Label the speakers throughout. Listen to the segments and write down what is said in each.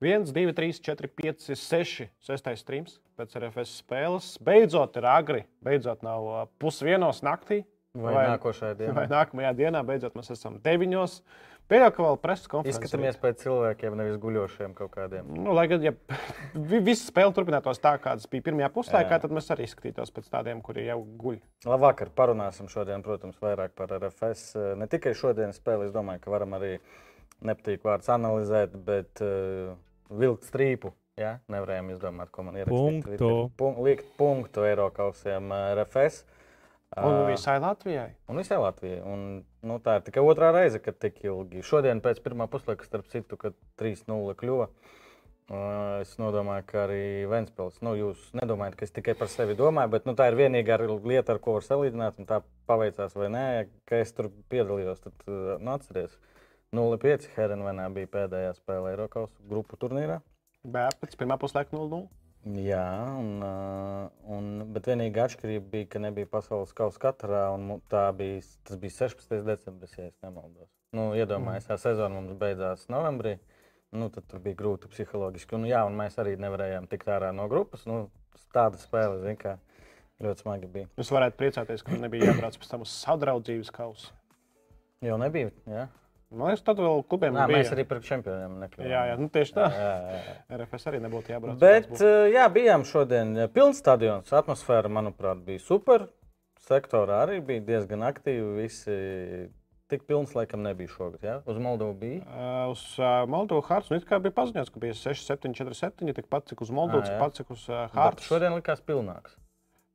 Speaker 1: 1, 2, 3, 4, 5, 6. Sestais streams pēc RFS spēles. Beidzot, ir agri. Beidzot, nav uh, pusdienos naktī.
Speaker 2: Vai, vai
Speaker 1: Vai-
Speaker 2: nākošajā dienā?
Speaker 1: Vai nākamajā dienā beidzot mēs esam deviņos. Pēdējā vēl preses konferences.
Speaker 2: Izskatāmies pēc cilvēkiem, nevis guļošiem kaut kādiem.
Speaker 1: Nu, lai gan ja vi- visa spēle turpinātos tā, kādas bija pirmajā
Speaker 2: Jā.
Speaker 1: puslaikā, tad mēs arī skatītos pēc tādiem, kuri jau guļ.
Speaker 2: Labvakar, parunāsim šodien, protams, vairāk par RFS. Eh, Ne tikai šodienas spēli, es domāju, ka varam arī nepatīk vārds analizēt, bet uh, vilkt strīpu. Jā, nevarējām izdomāt, ko man ir.
Speaker 3: Punktu.
Speaker 2: Liekt punktu eiro kausiem eh, RFS.
Speaker 1: Un
Speaker 2: Eh,
Speaker 1: visai Latvijai.
Speaker 2: Un visai Latvijai. Un, nu, tā ir tikai otrā reize, kad tik ilgi. Šodien pēc pirmā puslaika, starp citu, kad 3-0 kļuva. uh, Es domāju, ka arī Vēnspils. Nu, jūs nedomājat, ka es tikai par sevi domāju, bet nu, tā ir vienīgā ar- lieta, ar ko var salīdzināt. un Tā paveicās, vai nē, ka es tur piedalījos. Tad uh, nu, atcerieties, 0-5 Herenvenā bija pēdējā spēlē Eiropas grupu turnīrā.
Speaker 1: Bet pēc pirmā puslaika 0-0.
Speaker 2: Jā, un, ā, un, bet vienīgā atšķirība bija, ka nebija pasaules kausa katrā, un mu- tā bija, tas bija 16. decembris, ja es nemaldos. Nu, iedomājieties, tā sezona mums beidzās novembrī. Nu, tad tur bija grūti psiholoģiski. Un, jā, un mēs arī nevarējām tikt ārā no grupas. Nu, tāda spēle, zināmā mērā, ļoti smagi bija.
Speaker 1: Jūs varētu priecāties, ka nebija jābrauc pēc tam uz sadraudzības kausu.
Speaker 2: Jo nebija. Jā,
Speaker 1: Man liekas, tad vēl klubiem
Speaker 2: Nā,
Speaker 1: bija.
Speaker 2: mēs arī par čempioniem nekļuvām.
Speaker 1: Jā, jā, nu tieši tā.
Speaker 2: jā, jā, jā.
Speaker 1: RFS arī nebūtu jābrauc.
Speaker 2: Bet,
Speaker 1: Būtu-
Speaker 2: eh, jā, bijām šodien eh, pilns stadions. Atmosfēra, manuprāt, bija super. Sektorā arī bija diezgan aktīvi. Visi tik pilns, laikam, nebija šogad. Jā? Uz Moldovu bija.
Speaker 1: Ā, Uh, Uz ā, Moldovu Hārtas nu, it kā bija paziņots, ka bija 6, 7, 4, 7. Tikpat cik uz Moldovu,
Speaker 2: Ā,
Speaker 1: cik
Speaker 2: Ah, jā.
Speaker 1: pat cik uz ā,
Speaker 2: Hārts.
Speaker 1: Hārtas.
Speaker 2: Šodien likās pilnāks.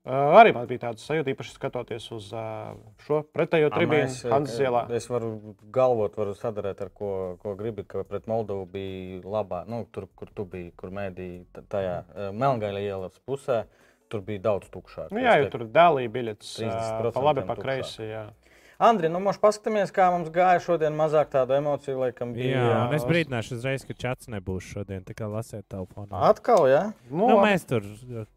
Speaker 1: Ā, Arī man bija tāds sajūta, īpaši skatoties uz ā, šo pretējo
Speaker 2: Ā, mēs, eh,
Speaker 1: tribīnu Hanzielā.
Speaker 2: Es varu galvot, varu sadarīt ar ko, ko gribi, ka pret Moldovu bija labā, nu, tur, kur tu biji, kur mēdīji, t- tajā eh, Melngaļa ielas pusē. Tur bija daudz tukšāk.
Speaker 1: Nu,
Speaker 2: Es
Speaker 1: jā,
Speaker 2: teiktu.
Speaker 1: jau tur dēlīja biļetes. ā,
Speaker 2: 30%
Speaker 1: Pa labi, pa
Speaker 2: tukšāk.
Speaker 1: kreisi. Jā.
Speaker 2: Andri, nu, mums paskatāmies, kā mums gāja šodien. Mazāk tādu emociju, laikam, bija.
Speaker 3: Jā, un es
Speaker 1: uz-
Speaker 3: brīdināšu uzreiz, ka čats nebūs šodien. Tā kā lasiet telefonā.
Speaker 2: Atkal, jā.
Speaker 1: Nu,
Speaker 3: Nu,
Speaker 1: labi.
Speaker 3: mēs tur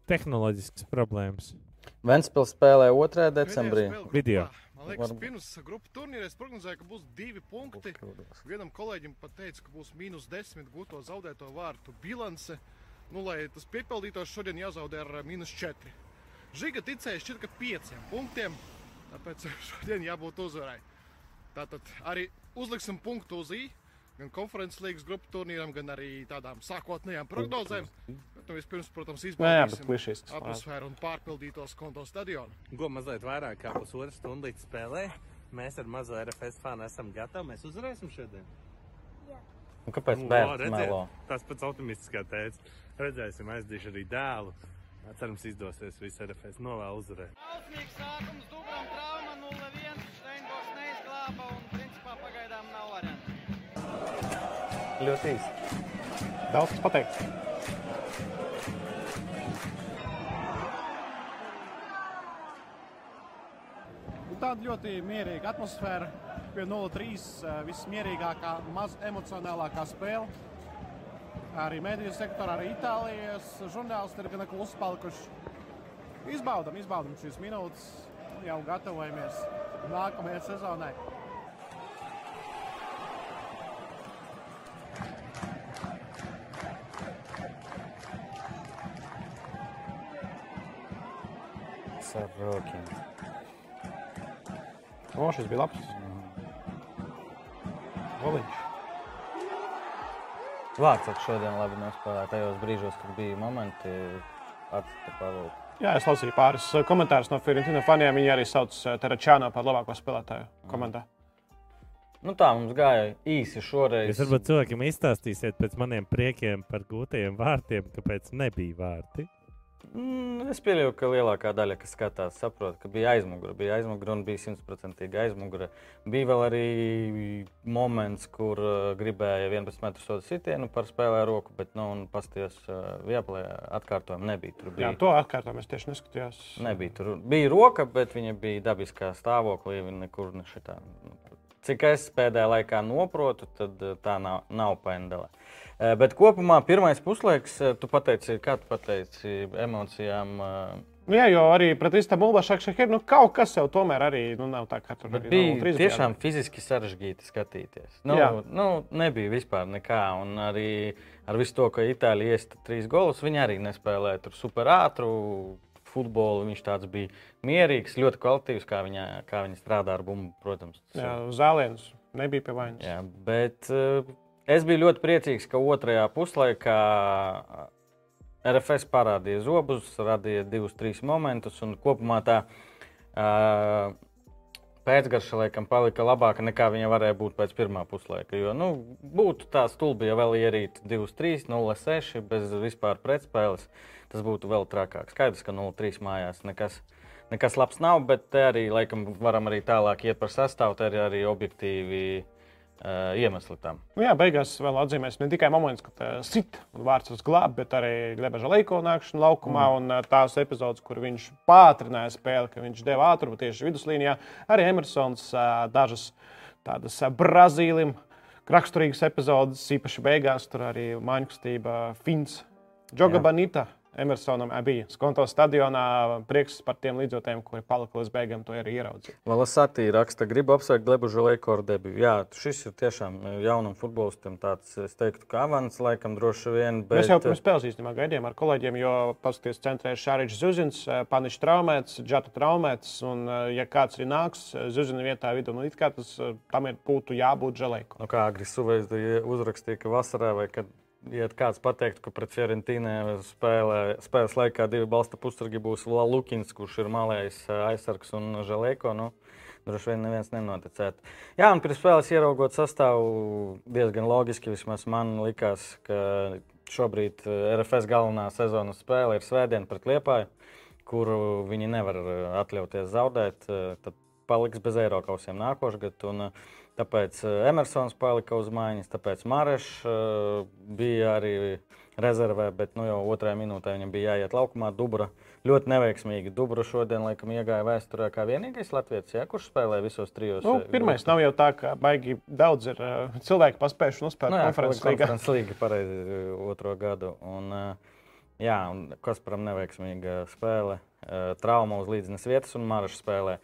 Speaker 3: tehnoloģiskas problēmas.
Speaker 2: Ventspils spēlē 2. decembrī.
Speaker 3: Video.
Speaker 4: Man liekas,
Speaker 2: Varbūt.
Speaker 4: pirms grupas turnīra es prognozēju, ka būs divi punkti. Vienam kolēģim pateicu, ka būs mīnus 10 gūto zaudēto vārtu bilance. Nu, lai tas piepildītos, šodien jāzaudē ar ā, mīnus 4. Žiga ticēja šķiet, ka 5 punktiem, tāpēc šodien jābūt uzvarai. Tātad arī uzliksim punktu uz I. Gan konferences līnijas grupu turnīram, gan arī tādām sākotnējām prognozēm. Bet, nu, vispirms, protams,
Speaker 1: Nu, jā, bet
Speaker 4: izbaudīsim
Speaker 1: klišejas. tas prāt.
Speaker 4: atmosfēru un pārpildītos konto stadionu.
Speaker 5: Go mazliet vairāk kā pusotru stundu līdz spēlē. Mēs ar mazo RFS fanu esam gatavi. Mēs uzvarēsim šodien.
Speaker 2: Un Kāpēc
Speaker 5: Nu,
Speaker 2: bērns
Speaker 5: redziet,
Speaker 2: melo?
Speaker 5: Tas pats optimists kā teica. Redzēsim, aizdīšu arī dēlu. Cerams, izdosies viss RFS novēl uzvarēt.
Speaker 6: Ausnīgs sākums, dubram trauma 0-1, Steinborgs neizglāba un principā pagaidām nav variantu.
Speaker 2: Ļoti īsti.
Speaker 1: Daudz kas pateikt.
Speaker 7: Un tāda ļoti mierīga atmosfēra. Pie 0-3 eh, vismierīgākā, maz emocionālākā spēle. Arī mediju sektorā, arī Itālijas žurnālisti ir gan klusi palikuši. Izbaudam, izbaudam šīs minūtes, Nu, jau gatavojamies nākamajai sezonai.
Speaker 2: Saprokim.
Speaker 1: O, šis bija labs. Goliņš.
Speaker 2: Vācis šodien labi nospēlēja tajos brīžos, kad bija momenti. Atstāt pavēlu.
Speaker 1: Jā, es lasīju pāris eh, komentārus no Fernandina faniem. Viņi arī sauc eh, Teračāno par labāko spēlētāju komandā.
Speaker 2: Nu tā mums gāja īsi šoreiz.
Speaker 3: Jūs varbūt cilvēkiem izstāstīsiet pēc maniem priekiem par gūtajiem vārtiem, kāpēc nebija vārti.
Speaker 2: Mm, Es pieļauju, ka lielākā daļa, kas skatās, saprot, ka bija aizmugure. Bija aizmugure un bija simtprocentīgi aizmugure. Bija vēl arī moments, kur uh, gribēja 11 metru sodu sitienu par spēlē roku, bet, nu, un pasties, uh, vieplē atkārtojumu nebija. Tur bija
Speaker 1: Jā, to atkārtot mēs tieši neskatījāmies.
Speaker 2: Nebija tur. Bija roka, bet viņa bija dabiskā stāvoklī. Viņa nekur nešitā. Cik es pēdējā laikā noprotu, tad eh, tā nav, nav pendela. Eh, uh, Bet kopumā pirmais puslaiks, eh, tu pateici, kā tu pateici, emocijām eh,
Speaker 1: Nu, jā, jo arī pret Istanbulu Bašakšu ir nu, kaut kas jau tomēr arī nu, nav tā, ka tur
Speaker 2: Bet
Speaker 1: arī
Speaker 2: bija
Speaker 1: 0-3
Speaker 2: tiešām fiziski sarežģīti skatīties. Nu,
Speaker 1: Jā.
Speaker 2: nu, nebija vispār nekā. Un arī ar visu to, ka Itālijā iesta trīs golus, viņi arī nespēlēja tur super ātru futbolu. Viņš tāds bija mierīgs, ļoti kvalitīvs, kā, viņa, kā viņi strādā ar bumbu, protams.
Speaker 1: Jā, zāliens nebija pie vainas.
Speaker 2: Jā, bet eh, es biju ļoti priecīgs, ka otrajā puslaikā RFS parādīja zobus, radīja divus, trīs momentus. un Kopumā tā eh, pēcgarša laikam palika labāka nekā viņa varēja būt pēc pirmā puslaika. Jo nu, būtu tā stulbi, ja vēl ierīt 2-3, 0-6 bez vispār pretspēles. Tas būtu vēl trakāk. Skaidrs, ka 0-3 mājās nekas. Nekas labs nav, bet te arī laikam varam arī tālāk iet par sastāvu. Te ir arī objektīvi uh, iemesli tam.
Speaker 1: Nu, jā, beigās vēl atzīmēs ne tikai moments, kad uh, sit un vārds uz glābi, bet arī Glebeža leiko nākšana laukumā mm. un uh, tās epizodes, kur viņš pātrināja spēli, ka viņš deva ātrumu tieši viduslīnijā. Arī Emersons uh, dažas tādas uh, Brazīlim raksturīgas epizodes, īpaši beigās tur arī māņkustība Fins, Džoga Banita. Emersonam ā, bija skonto stadionā. Prieks par tiem līdzjūtiem, kuri palika līdz beigām, to arī ieraudzīja.
Speaker 2: Valasatī raksta, gribu apsveikt Glebužu Leikoru debiju. Jā, šis ir tiešām jaunam futbolistam э, tāds, э, es teiktu, kā avans laikam droši vien. Bet... э, eh,
Speaker 1: Mēs jau pirms spēles īstenībā gaidījām ar kolēģiem, jo paskatieties, centrā ir Šāriņš Zuzins, eh, Panišs traumēts, Džata traumēts. Un, eh, ja kāds arī nāks eh, Zuzina vietā vidū, nu, it kā tas eh, tam ir būtu jābūt žēlēko.
Speaker 2: Nu, kā Agrisūvais uzrakstīja, ka vasarā vai kad ja kāds pateiktu, ka pret Fiorentīnu spēlēs laikā divi balsta pusargi būs Lukins, kurš ir malējis eh, aizsargs un žēlēko. Nu, Droši vien neviens nenoticētu. Jā, un pirms spēles ieraugot sastāvu, diezgan loģiski vismaz man likās, ka šobrīd eh, RFS galvenā sezonas spēle ir Svētdiena pret Liepāju, kuru viņi nevar eh, atļauties zaudēt. eh, Tad paliks bez eiro kausiem nākošgad. Un, eh, Tāpēc eh, Emersons palika uz mājas, tāpēc Mārešs eh, bija arī rezervē, bet nu, jau otrajā minūtē viņam bija jāiet laukumā. Dubra ļoti neveiksmīgi. Dubra šodien, laikam, iegāja vēsturē kā vienīgais latviečs, ja, kurš spēlēja visos trijos. eh,
Speaker 1: Nu, Pirmā nav jau tā, ka baigi daudz ir eh, cilvēku paspējuši nospēlēt
Speaker 2: nu,
Speaker 1: no,
Speaker 2: jā,
Speaker 1: konferences līgā.
Speaker 2: konferences līga pareizi eh, otro gadu. Un, eh, jā, un Kasparam neveiksmīga spēle, eh, trauma uz līdznes vietas un Mārešs spēlē.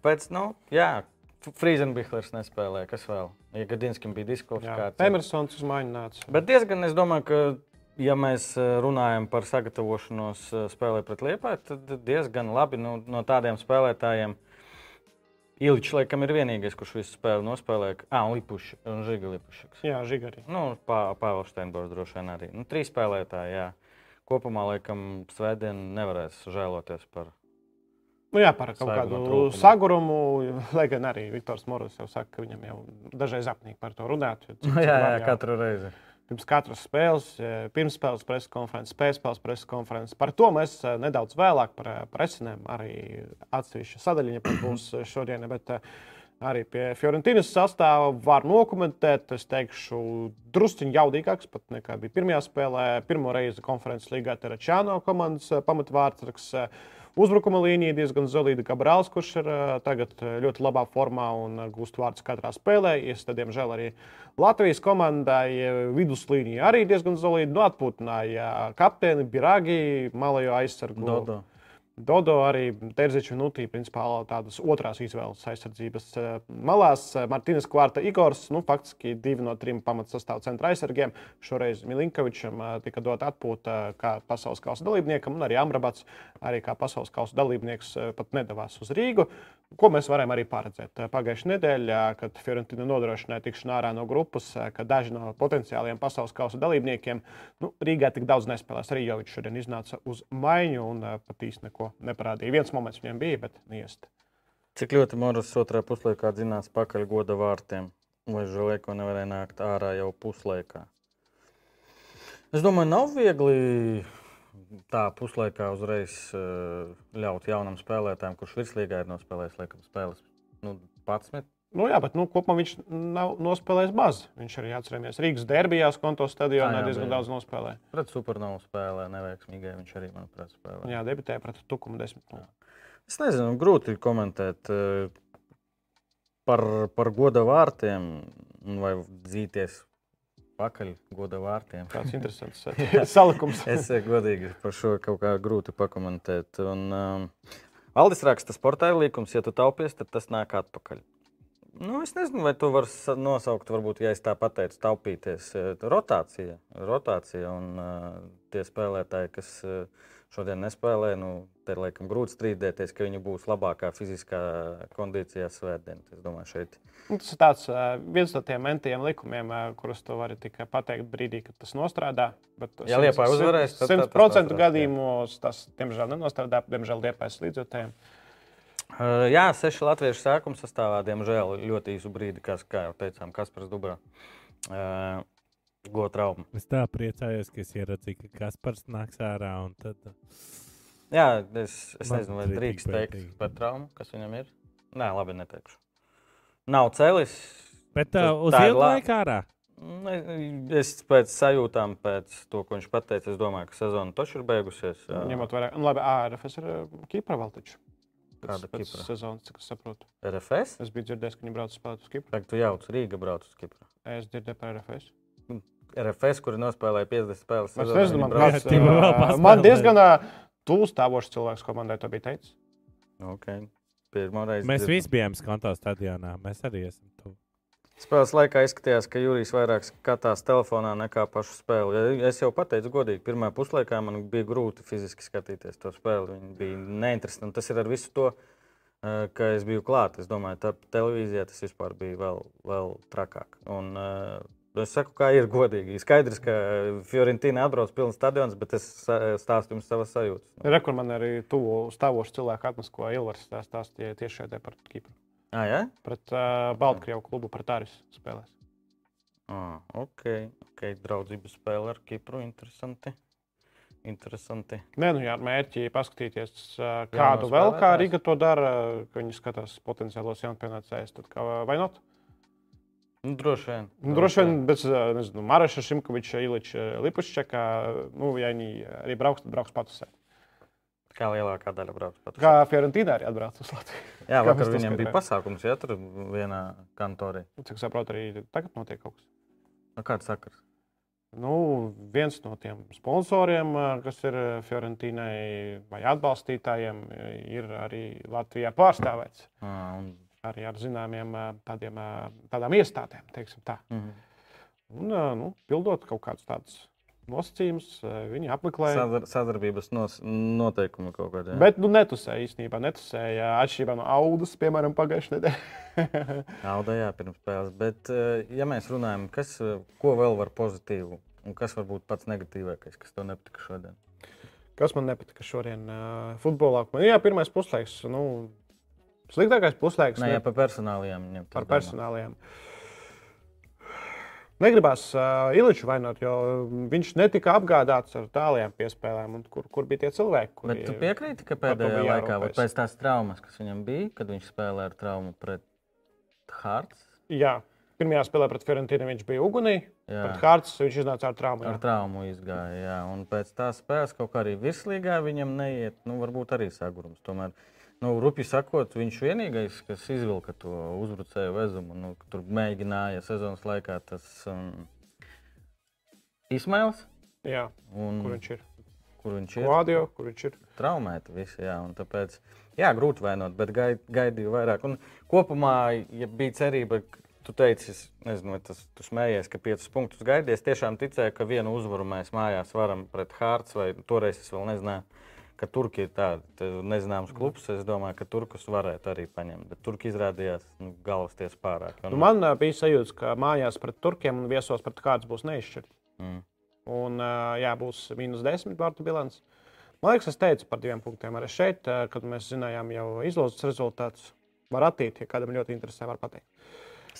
Speaker 2: Tāpēc, nu, jā, Frīzenbihlers nespēlēja, kas vēl? Ja Gadinskim bija
Speaker 1: Jā,
Speaker 2: diskvalifikācija.
Speaker 1: Emersons uz mājiņu nāca.
Speaker 2: Bet diezgan, es domāju, ka, ja mēs eh, runājam par sagatavošanos eh, spēlē pret Lietuvai, tad diezgan labi nu, no tādiem spēlētājiem. Ilčs, laikam, ir vienīgais, kurš visu spēli nospēlēja. Ah, un Lipuši, un Žiga Lipušiks.
Speaker 1: Jā, Žigarī.
Speaker 2: Nu, Pā, Pāvils Steinborgs droši vien arī. Nu, trīs spēlētāji, jā. Kopumā, laikam, svētdien nevarēs žēloties par.
Speaker 1: Nu, jā, par kaut
Speaker 2: Saguma
Speaker 1: kādu
Speaker 2: trūkumu.
Speaker 1: sagurumu. Lai gan arī Viktors Morris jau saka, ka viņam jau dažreiz apnīk par to runāt. jo cik- cik var jau-
Speaker 2: Nu, katru reizi.
Speaker 1: pirms katras spēles, eh, pirms spēles preses konferences, pēc spēles preses konferences. Par to mēs eh, nedaudz vēlāk par eh, presinēm arī atsevišķa sadaļa pat būs eh, šodien. Bet, eh, Arī pie Fiorentīnas sastāva var dokumentēt, es teikšu, drusciņš jaudīgāks pat nekā bija pirmajā spēlē. Pirmo reizi konferences līgā Terečāno komandas eh, pamatvārdsargs. eh, Uzbrukuma līnija diezgan zelīta. Gabrāls, kurš ir eh, tagad eh, ļoti labā formā un eh, gūst vārdus katrā spēlē, es tad, diemžēl, arī Latvijas komandai eh, viduslīnija arī diezgan zelīta. Nu, atpūtināja eh, kapteini Birāgi, malējo aizsargu.
Speaker 2: Dodo.
Speaker 1: Dodo arī Terziča un Utī, principā tādas otrās izvēles aizsardzības eh, malās. Martīnas Kvārta Igors, nu, faktiski divi no trim pamatsastāvdaļas centra aizsargiem. Šoreiz Milinkovičam eh, tika dot atpūta eh, kā pasaules kausa dalībniekam, un arī Amrabats, arī kā pasaules kausa dalībnieks, eh, pat nedavās uz Rīgu. Ko mēs varējām arī paredzēt? Pagājušajā nedēļā, kad Fiorentina nodrošināja tikšanā ārā no grupas, eh, ka daži no potenciālajiem pasaules kausa dalībniekiem nu, Rīgā tik daudz nespēlēs. Arī Jovičs šodien iznāca uz maiņu un eh, pat īsti neko neparādīja. Viens moments viņam bija, bet niest.
Speaker 2: Cik ļoti Morris otrajā puslaikā dzinās pakaļ goda vārtiem, lai Žēlēko nevarēja nākt ārā jau puslaikā. Es domāju, nav viegli tā puslaikā uzreiz eh, ļaut jaunam spēlētājam, kurš virslīgā ir nospēlējis, laikam, spēles nu, 11.
Speaker 1: Nu, jā, bet nu, kopumā viņš nav nospēlējis maz. Viņš arī atcerējās Rīgas derbijās, konto
Speaker 2: Tā,
Speaker 1: stadionā
Speaker 2: jā,
Speaker 1: diezgan
Speaker 2: bija.
Speaker 1: daudz nospēlēja.
Speaker 2: Pret supernovu spēlē, neveiksmīgai viņš arī, manuprāt, spēlē.
Speaker 1: Jā, debitēja pret Tukumu 10. Nu,
Speaker 2: Es nezinu, grūti komentēt eh, par, par goda vārtiem un vai dzīties pakaļ goda vārtiem.
Speaker 1: Tāds interesants eh, salikums.
Speaker 2: Es eh, godīgi par šo kaut kā grūti pakomentēt. Un, um, Aldis raksta, sportā ir līkums, ja tu taupies, tad tas nāk atpakaļ. Nu, es nezinu, vai to var sa- nosaukt, varbūt, ja es tā pateicu, taupīties. eh, Rotācija, rotācija un eh, tie spēlētāji, kas eh, šodien nespēlē, nu, te ir laikam grūti strīdēties, ka viņi būs labākā fiziskā kondīcijā svētdien. Es domāju, šeit
Speaker 1: Nu, Tas ir tāds, eh, viens no tiem mentiem likumiem, eh, kurus tu vari tikai pateikt brīdī, kad tas nostrādā. Bet
Speaker 2: Ja Liepāja uzvarēs, tad tā- tas
Speaker 1: 100%
Speaker 2: nostrādā, jā.
Speaker 1: gadījumos tas, diemžēl, nenostrādā. Diemžēl Liepājas līdzjutējiem.
Speaker 2: Uh, Jā, seši latviešu sākuma sastāvā, diemžēl, ļoti īsu brīdi, kas, kā jau teicām, Kaspars Dubra uh, guva traumu.
Speaker 3: Es tā priecājos, ka es ieraudzīju, ka Kaspars nāks ārā un tad.
Speaker 2: Jā, es, es
Speaker 3: Man
Speaker 2: nezinu, vai
Speaker 3: arī tik
Speaker 2: drīkst teikt
Speaker 3: bēdīgi.
Speaker 2: par traumu, kas viņam ir. Nē, labi, neteikšu. Nav cēlis.
Speaker 3: Bet
Speaker 2: Tas
Speaker 3: uh, uz
Speaker 2: Nu, tā ir
Speaker 3: ilgu
Speaker 2: lā-
Speaker 3: laiku ārā.
Speaker 2: Ne- Nu, Es pēc sajūtām, pēc to, ko viņš pateica, es domāju, ka sezona taču ir beigusies. Jā.
Speaker 1: Ņemot vērā, nu, labi, ARFS ir eh, Kipra vēl taču.
Speaker 2: Kāda
Speaker 1: Pēc- pēc
Speaker 2: Kipra?
Speaker 1: Sezonas, cik es saprotu.
Speaker 2: RFS?
Speaker 1: Es biju dzirdējis, ka viņi brauc spēlēt uz Kipru.
Speaker 2: Tagad tu jau uz Rīgā brauc uz Kipru.
Speaker 1: Es dzirdēju par RFS.
Speaker 2: RFS, kuri nospēlēja 50
Speaker 1: Es
Speaker 2: spēles. sezonā,
Speaker 1: nezinu,
Speaker 2: viņi
Speaker 1: man,
Speaker 2: brauc-
Speaker 1: kāds,
Speaker 3: Jā, Tipa vēl
Speaker 1: eh,
Speaker 3: paspēlē.
Speaker 1: man diezgan eh, tuvu stāvošs cilvēks komandai to bija teicis.
Speaker 2: Okay. Pirmā reize.
Speaker 3: Mēs visi bijām skonto stadionā. Mēs arī esam tuvu.
Speaker 2: Spēles laikā izskatījās, ka Jurijs vairāk skatās telefonā nekā pašu spēli. Ja Es jau pateicu, godīgi, pirmā puslaikā man bija grūti fiziski skatīties to spēli. Viņa bija neinteresanti. Tas ir ar visu to, eh, ka es biju klāt. Es domāju, ka televīzijā tas vispār bija vēl, vēl trakāk. Un, eh, Es saku, kā ir godīgi. Skaidrs, ka Fiorentīna atbrauc pilns stadions, bet es eh, stāstu jums savas sajūtas. Nu.
Speaker 1: Rekur man arī tuvu stāvošs cilvēks atnes, ko Ilvars tā stāstīja tieši šeit par Kipru.
Speaker 2: Ah, jā?
Speaker 1: Pret uh, Baltkrievu klubu, pret Tāris spēlēs.
Speaker 2: Ah, ok, ok. Draudzība spēle ar Kipru. Interesanti. Interesanti.
Speaker 1: Nē, nu, jā, ar mērķi paskatīties, ā, kādu
Speaker 2: no
Speaker 1: vēl, kā
Speaker 2: spēlētājs.
Speaker 1: Riga to dara, ka viņi skatās potenciālos jaunpienācējus, tad kā vai not?
Speaker 2: Nu, droši vien.
Speaker 1: Nu, droši vien bez, ā, nezinu, Mareša, Šimkoviča, Iliča, Lipušķeka, nu, ja viņi arī brauks, tad brauks patusēt.
Speaker 2: Kā lielākā daļa brauc pat uz
Speaker 1: Kā Fiorentīna arī atbrauc uz Latviju.
Speaker 2: Latviju. Jā,
Speaker 1: kā
Speaker 2: vakar
Speaker 1: mēs to
Speaker 2: viņiem bija
Speaker 1: skaidrojam?
Speaker 2: pasākums, ja tur vienā kantorī.
Speaker 1: Nu, Cik saprotu, arī tagad notiek kaut kas.
Speaker 2: Nu, kāds sakars?
Speaker 1: Nu, viens no tiem sponsoriem, ā, kas ir ā, Fiorentīnai vai atbalstītājiem, ā, ir arī Latvijā pārstāvēts.
Speaker 2: Ah, un...
Speaker 1: Arī ar zināmiem ā, tādiem, ā, tādām iestādēm, teiksim tā.
Speaker 2: mhm.
Speaker 1: Un, ā, nu, pildot kaut kādus tādus nosacījumus, ā, viņi apmeklēja.
Speaker 2: Sadar sadarbības nos noteikumi kaut kādā.
Speaker 1: Bet, nu, netusēja īstenībā, netusēja atšķirībā no audas, piemēram, pagājušajā nedēļā.
Speaker 2: Nauda, jā, pirms spēles. Bet, eh, ja mēs runājam, kas, eh, ko vēl var pozitīvu un kas var būt pats negatīvākais, kas tev nepatika šodien?
Speaker 1: Kas man nepatika šodien uh, futbolā? Man, jā, pirmais puslaiks. Nu, sliktākais puslaiks
Speaker 2: Nē, jā,
Speaker 1: ne,
Speaker 2: par personāliem. ņem,
Speaker 1: par
Speaker 2: tad domā.
Speaker 1: personāliem. Negribās uh, Iliču vainot, jo viņš netika apgādāts ar tālajām piespēlēm. un Kur, kur bija tie cilvēki? Kuri,
Speaker 2: Bet tu piekrīti, ka
Speaker 1: par to
Speaker 2: pēdējā
Speaker 1: bija
Speaker 2: laikā, vai
Speaker 1: jārūpējas.
Speaker 2: pēc tās traumas, kas viņam bija, kad viņš spēlēja ar traumu pret Hārts?
Speaker 1: Jā, pirmajā spēlē pret Fiorentīnu viņš bija ugunī,
Speaker 2: Jā.
Speaker 1: pret Hārtas viņš iznāca ar traumu.
Speaker 2: Ar
Speaker 1: jā.
Speaker 2: traumu izgāja. Jā. Un pēc tās spēles kaut kā arī virslīgā viņam neiet. Nu, varbūt arī sagurums. Tomēr, nu, rupi sakot, viņš vienīgais, kas izvilka to uzbrucēju vezumu, nu, ka tur mēģināja sezonas laikā tas um, Ismails.
Speaker 1: Jā,
Speaker 2: Un,
Speaker 1: kur viņš ir?
Speaker 2: kur viņš ir?
Speaker 1: Kvādio, kur viņš ir?
Speaker 2: traumēti visi. Jā, un tāpēc, jā, grūti vainot, bet gai- gaidīju vairāk. Un kopumā ja bija cerība, ka tu teici, es nezinu, vai tas tu smējies, ka piecus punktus gaidies. Tiešām ticēju, ka vienu uzvaru mēs mājās varam pret Hārts, vai toreiz es vēl nezināju. Ka Turki ir tāds nezināms klubs. Es domāju, ka Turkus varētu arī paņemt. Bet Turki izrādījās nu, galvas tiesa pārāk. Un,
Speaker 1: Nu, man ā, bija sajūta, ka mājās pret turkiem un viesos pret kādus būs neizšķirti.
Speaker 2: Mm.
Speaker 1: Un, ā, jā, būs mīnus 10 vārtu bilants. Man liekas, es teicu par diviem punktiem arī šeit, ā, kad mēs zinājām jau izlozes rezultātus. Var attīt, ja kādam ļoti interesē, var pateikt.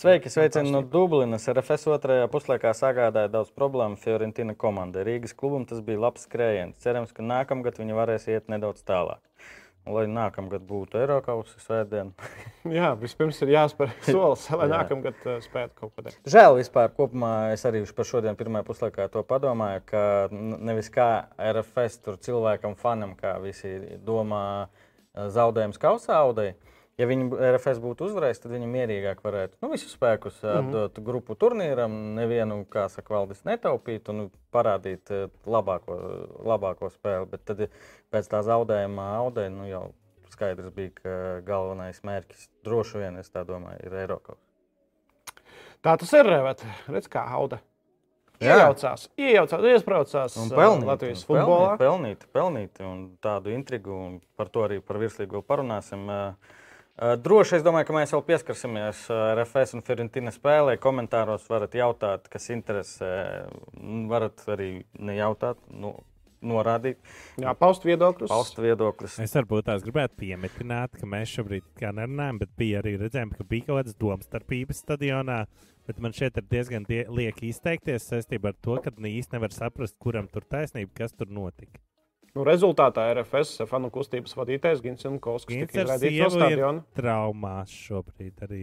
Speaker 2: Sveiki, sveicini no Dublinas. RFS otrajā puslaikā sagādāja daudz problēmu Fiorentina komandai. Rīgas klubam tas bija labs skrējiens. Cerams, ka nākamgad viņi varēs iet nedaudz tālāk. Un, lai nākamgad būtu Eiropas svētdiena.
Speaker 1: Jā, vispirms ir jāspēr solis, lai
Speaker 2: Jā.
Speaker 1: nākamgad ā, spētu kaut ko darīt.
Speaker 2: Žēl vispār, kopumā es arī par šodien pirmajā puslaikā to padomāju, ka n- nevis kā RFS tur cilvēkam, fanam, kā visi domā, eh, zaudējums kausā audē. Ja viņi b- RFS būtu uzvarējis, tad viņi mierīgāk varētu nu, visus spēkus mm -hmm. dot grupu turnīram, nevienu, kā saka, valdis netaupīt un nu, parādīt eh, labāko, labāko spēli. Bet tad eh, pēc tā zaudējuma audē nu, jau skaidrs bija, ka galvenais mērķis droši vien, es tā domāju, ir Eiropas.
Speaker 1: Tā tas ir. Bet redz, kā Hauda
Speaker 2: Jā.
Speaker 1: iejaucās, iejaucās, iesprācās
Speaker 2: Un
Speaker 1: eh,
Speaker 2: pelnīt,
Speaker 1: Latvijas
Speaker 2: un
Speaker 1: futbolā.
Speaker 2: Pelnīt, pelnīt, pelnīt, un tādu intrigu, un par to arī par virslīgu vēl parunāsim. Ā, ā, Droši es domāju, ka mēs vēl pieskarsimies ā, RFS un Fiorentina spēlē. Komentāros varat jautāt, kas interesē. Un Varat arī nejautāt, nu, norādīt,
Speaker 1: Jā, paust viedokļus.
Speaker 2: paust viedoklis.
Speaker 3: Es varbūt tās gribētu pieminēt, ka mēs šobrīd tā kā nerunājam, bet bija arī redzējām, ka bija kaut kādas domstarpības stadionā. Bet man šeit ir diezgan die, lieki izteikties saistībā ar to, ka īstenībā nevar saprast, kuram tur taisnība, kas tur notika.
Speaker 1: Nu, rezultātā RFS fanu kustības vadītājs Gins Unkovskis
Speaker 3: Viņš
Speaker 1: tika
Speaker 3: ar
Speaker 1: izraidīts no
Speaker 3: sievu ir
Speaker 1: stadiona.
Speaker 3: traumās šobrīd arī.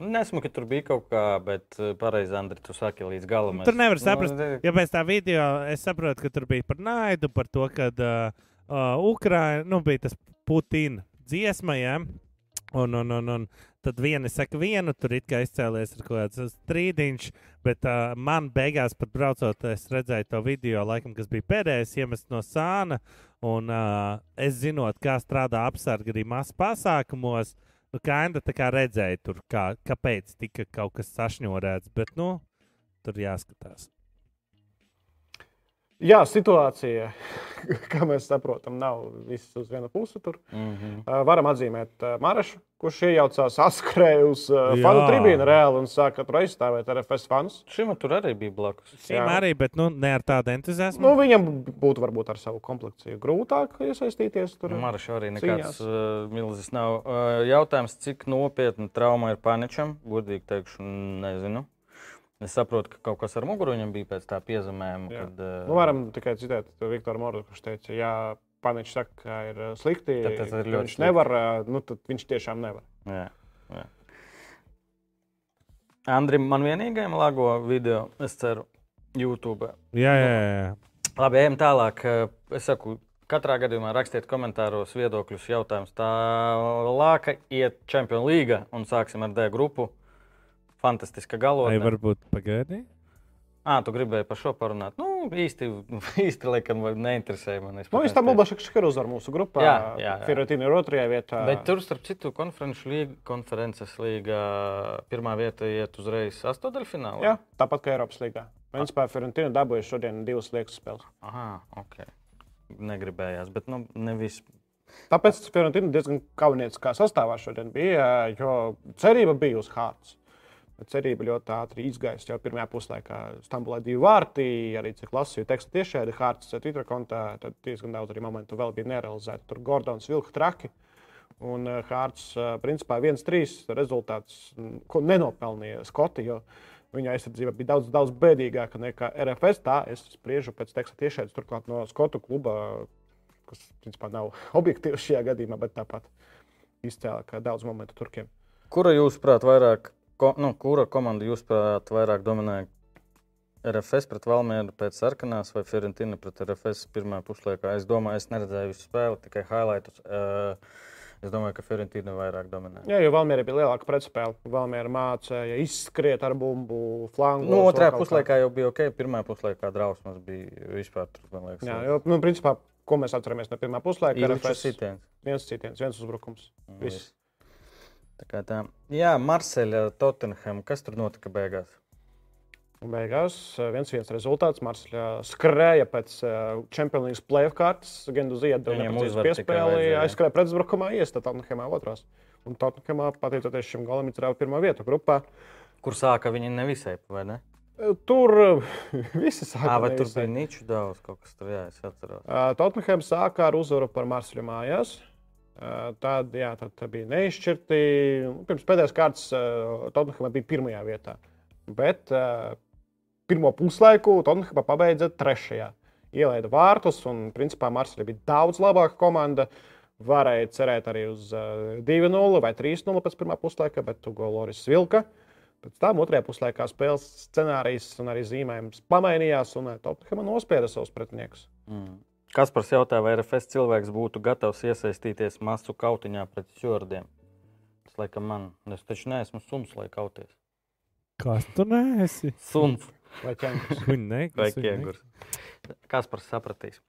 Speaker 2: Nesmu, ka tur bija kaut kā, bet ā, pareizi, Andri, tu saki līdz galam.
Speaker 3: Tur nevar
Speaker 2: Nu,
Speaker 3: saprast.
Speaker 2: ne-
Speaker 3: Ja pēc tā video es saprotu, ka tur bija par naidu, par to, ka uh, uh, Ukraiņa nu, bija tas Putina dziesmai. Ja? Un, un, un, un tad viena saka, vienu tur it kā izcēlies ar kaut kādu strīdiņu, bet uh, man beigās pat braucot, es redzēju to video, laikam, kas bija pēdējais, iemests no sāna. Un uh, es zinot, kā strādā apsarga arī mazos pasākumos, nu, kainda tā kā redzēja, tur, kā, kāpēc tika kaut kas sašņorēts. Bet, nu, tur jāskatās.
Speaker 1: Jā, situācija, kā mēs saprotam, nav viss uz vienu pusi. Tur
Speaker 2: Mhm.
Speaker 1: Uh, varam atzīmēt uh, Marašu, kurš iejaucās askrēju uz uh,
Speaker 3: Jā.
Speaker 1: fanu tribīnu reāli un sāka tur aizstāvēt RFS fanus.
Speaker 2: Šim tur arī bija blakus.
Speaker 3: Viņam arī, bet nu, ne ar tādu entuziasmu.
Speaker 1: Nu, viņam būtu varbūt ar savu komplekciju grūtāk iesaistīties tur.
Speaker 2: Marš arī
Speaker 1: cīņās.
Speaker 2: Nu, nekāds uh, milzīgs nav. Uh, jautājums, cik nopietna trauma ir paničam? Godīgi teikšu, nezinu. Es saprotu, ka kaut kas ar muguru viņam bija pēc tā piezemēm.
Speaker 1: Jā.
Speaker 2: Kad, uh,
Speaker 1: Nu, varam tikai citēt Viktoru Mordu, kurš teica, ja Paničs saka, ka ir uh, slikti,
Speaker 2: Tad tas ir
Speaker 1: ka
Speaker 2: ļoti
Speaker 1: viņš
Speaker 2: slikti.
Speaker 1: nevar, uh, nu, tad viņš tiešām nevar.
Speaker 2: jā, jā. Andrim, man vienīgajam lago video, es ceru, YouTube.
Speaker 3: Jā, jā, jā.
Speaker 2: Labi, ejam tālāk. Uh, Es saku, katrā gadījumā rakstiet komentāros viedokļus, jautājumus. Tālāk iet Champions League un sāksim ar D grupu. Fantastiska
Speaker 3: Vai
Speaker 2: galotne.
Speaker 3: varbūt pagaidi?
Speaker 2: Ah, tu gribēji par šo parunāt. Nu, īsti, īsti laikam, vai- neinteresēja man. Es
Speaker 1: Nu,
Speaker 2: pat
Speaker 1: viņš tam
Speaker 2: nespēju.
Speaker 1: Bulbašs Škarus ar mūsu grupā.
Speaker 2: Jā, jā, jā.
Speaker 1: Firotīna ir otrajā vietā.
Speaker 2: Bet tur, starp citu, konferenču līga, konferences līga, pirmā vieta iet uzreiz astotdaļfinālā.
Speaker 1: Jā, tāpat kā Eiropas līgā. Principā Firotīna dabūja šodien divas liekas spēles.
Speaker 2: Aha, ok. Negribējās, bet nu, nevis.
Speaker 1: Tāpēc Fiorentīna diezgan kaunieciskā sastāvā šodien bija, jo cerība bija uz Hārtas. Bet cerība ļoti ātri izgaisa. Jau pirmajā puslaikā Stambulā bija divi vārti, arī cik lasīju tekstu tiešādi Hārtas Twitter kontā. Tad diezgan daudz arī momentu vēl bija nerealizēti. Tur Gordons vilka traki. Un eh, Hārts, eh, principā, viens trīs rezultāts, mm, ko nenopelnīja Skoti. jo Viņa aizsardzība bija daudz, daudz bēdīgāka nekā RFS. Tā es spriežu pēc teksta tiešai, turklāt no Skotu kluba kas principā nav objektīvs šajā gadījumā, bet tāpat izcēlīja, ka daudz momentu turkiem.
Speaker 2: Kura jūsuprāt vairāk, ko, nu, kura komanda jūsuprāt vairāk dominēja? RFS pret Valmēru pēc sarkanās vai Fiorentina pret RFS pirmā puslaikā? Es domāju, es neredzēju visu spēli, tikai highlights. Uh, es domāju, ka Fiorentina vairāk dominēja.
Speaker 1: Jā, jo Valmēra bija lielāka pretspēle. Valmēra mācīja izskriet ar bumbu, flangu.
Speaker 2: Nu,
Speaker 1: vēl
Speaker 2: otrā
Speaker 1: kaut kā.
Speaker 2: puslaikā jau bija ok, pirmā puslaikā drausmas bija vispār. Tur, man liekas,
Speaker 1: Jā, jo, nu, principā, ko mēs atceramies no pirmā puslaika, ir
Speaker 2: tas
Speaker 1: RFS.
Speaker 2: sitiens.
Speaker 1: viens citiens, viens uzbrukums.
Speaker 2: Nu,
Speaker 1: Viss.
Speaker 2: Tā kā tā. Jā, Marseļa, Tottenham, kas tur notika beigās?
Speaker 1: Un Beigās eh, viens viens rezultāts. Marsļa skrēja pēc eh, Champions League playoff kārtas. Genduzija
Speaker 2: Viņam
Speaker 1: atdeva
Speaker 2: uzvaru tikai
Speaker 1: piespēli,
Speaker 2: vajadzēja.
Speaker 1: aizskrēja pretuzbrukumā, iestāta Tottenhamā otrās. Un Tottenhamā, pateicoties šim golam, izrāva pirmā vieta grupā.
Speaker 2: Kur sāka viņi nevisai, vai ne?
Speaker 1: Tur e, viss sākās.
Speaker 2: Jā, vai tur bija niču daudz, kaut kas tur jā, es atceros.
Speaker 1: Eh, Tottenham sākā ar uzvaru par Marsļu mājās. Eh, Tad, jā, tad tā bija neizšķirti. Nu, Pirms pēdējās kārtas eh, Tottenhamā bija pirmajā vietā. Bet eh, pirmo puslaiku Tottenhamā pabeidza trešajā. Ielaida vārtus, un principā Marsļa bija daudz labāka komanda. Varēja cerēt arī uz eh, 2-0 vai 3-0 pēc pirmā puslaika, bet tu Goloris vilka. Pēc tam otrajā puslaikā spēles scenārijs un arī zīmējums pamainījās, un Tottenhamā nospieda savus pretiniekus.
Speaker 2: Mm. Kas par jautājumu, vai RFS cilvēks būtu gatavs iesaistīties masu kautiņā pret šordiem? Tas laikam man. Es taču neesmu suns, lai kauties.
Speaker 3: Kas tu nesi?
Speaker 2: Suns
Speaker 1: Vai ķēniņš?
Speaker 3: Viņa
Speaker 2: vai
Speaker 3: nekas.
Speaker 2: ķēgurs. Kas par sapratīs?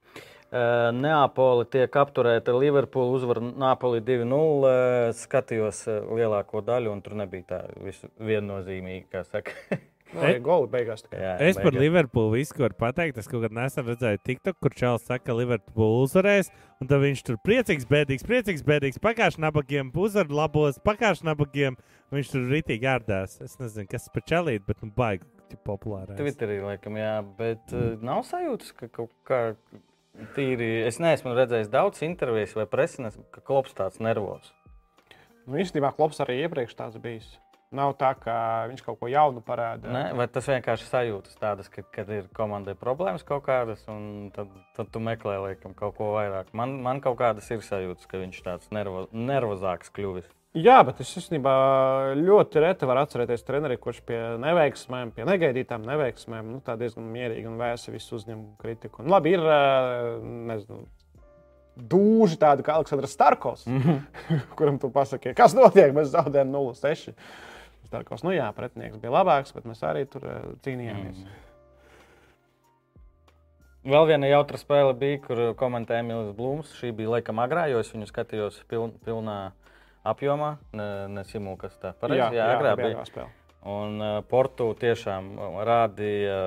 Speaker 2: Eh, Neapoli tiek apturēta. Liverpoola uzvar Napoli 2-0. Eh, Skatījos eh, lielāko daļu, un tur nebija tā visu viennozīmīgi, kā saka.
Speaker 1: Nu, arī goli beigās. tikai.
Speaker 2: Jā,
Speaker 3: Es par
Speaker 2: beigās.
Speaker 3: Liverpoolu visu varu pateikt. Es kaut kad nesen redzēju TikTok, kur Čels saka, ka Liverpoola uzvarēs. Un tad viņš tur priecīgs, bēdīgs, priecīgs, bēdīgs. Pakāpst nabagiem, uzvar labos, pakāpst nabagiem. Viņš tur ritīgi ārdās. Es nezinu, kas par Čelīti, bet nu baigi. Populārais.
Speaker 2: Twitterī, laikam, jā, bet mm. nav sajūtas, ka kaut kā tīri. Es neesmu redzējis daudz intervijas vai preses, ka klops tāds nervozs.
Speaker 1: Nu, īstenībā Klops arī iepriekš tāds bijis. Nav tā, ka viņš kaut ko jaunu parāda.
Speaker 2: Ne? Vai tas vienkārši sajūtas tādas, ka, kad ir komandai problēmas kaut kādas, un tad, tad tu meklē laikam, kaut ko vairāk. Man, man kaut kādas ir sajūtas, ka viņš tāds nervo, nervozāks kļuvis.
Speaker 1: Jā, bet es īstenībā ļoti reti varu atcerēties treneri, kurš pie neveiksmēm, pie negaidītām neveiksmēm, nu, tā diezgan mierīgi un vēsi visu uzņem kritiku. Un, labi, ir ā, nezinu, dūži tādi kā Aleksandrs Starkovs, mm
Speaker 2: Mhm.
Speaker 1: -hmm. kuram tu pasaki, kas notiek, mēs zaudējam 0-6. Starkovs, nu jā, pretinieks bija labāks, bet mēs arī tur ā, cīnījāmies.
Speaker 2: Mhm.
Speaker 1: Mm.
Speaker 2: Vēl viena jautra spēle bija, kur komentēja Emīls Blūms. Šī bija laikam agrā, jo es viņu skatījos piln, pilnā apjomā. Ne, ne simulkastā. Pareizi, jā, jā, agrā bija.
Speaker 1: spēle.
Speaker 2: Un uh, Portu tiešām uh, rādīja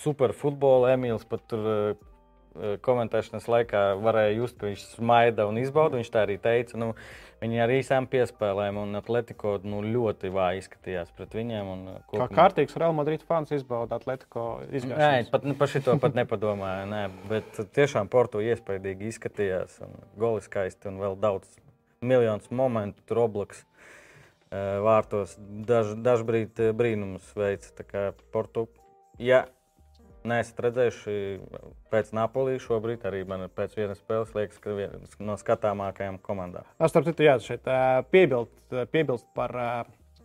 Speaker 2: superfutbolu. Emīls pat tur uh, uh, komentēšanas laikā varēja just, ka viņš smaida un izbauda. Viņš tā arī teica. Nu, viņi ar īsām piespēlēm un Atletico nu, ļoti vāji izskatījās pret viņiem. Un, uh,
Speaker 1: Kā
Speaker 2: kopumā-
Speaker 1: kārtīgs Real Madrid fans izbauda Atletico
Speaker 2: Nē,
Speaker 1: izgājumu.
Speaker 2: pat ne- par šito pat nepadomāju. Nē, bet tiešām Porto iespaidīgi izskatījās. un Golis skaisti un vēl daudz miljonus momentu, tur oblaks eh, vārtos. Daž, dažbrīd eh, brīnums veids. Tā kā Porto, ja neesat redzējuši pēc Napolī, šobrīd arī man pēc vienas spēles liekas, ka viena no skatāmākajām komandām.
Speaker 1: Es starp citu, jā, šeit ā, piebilst, piebilst par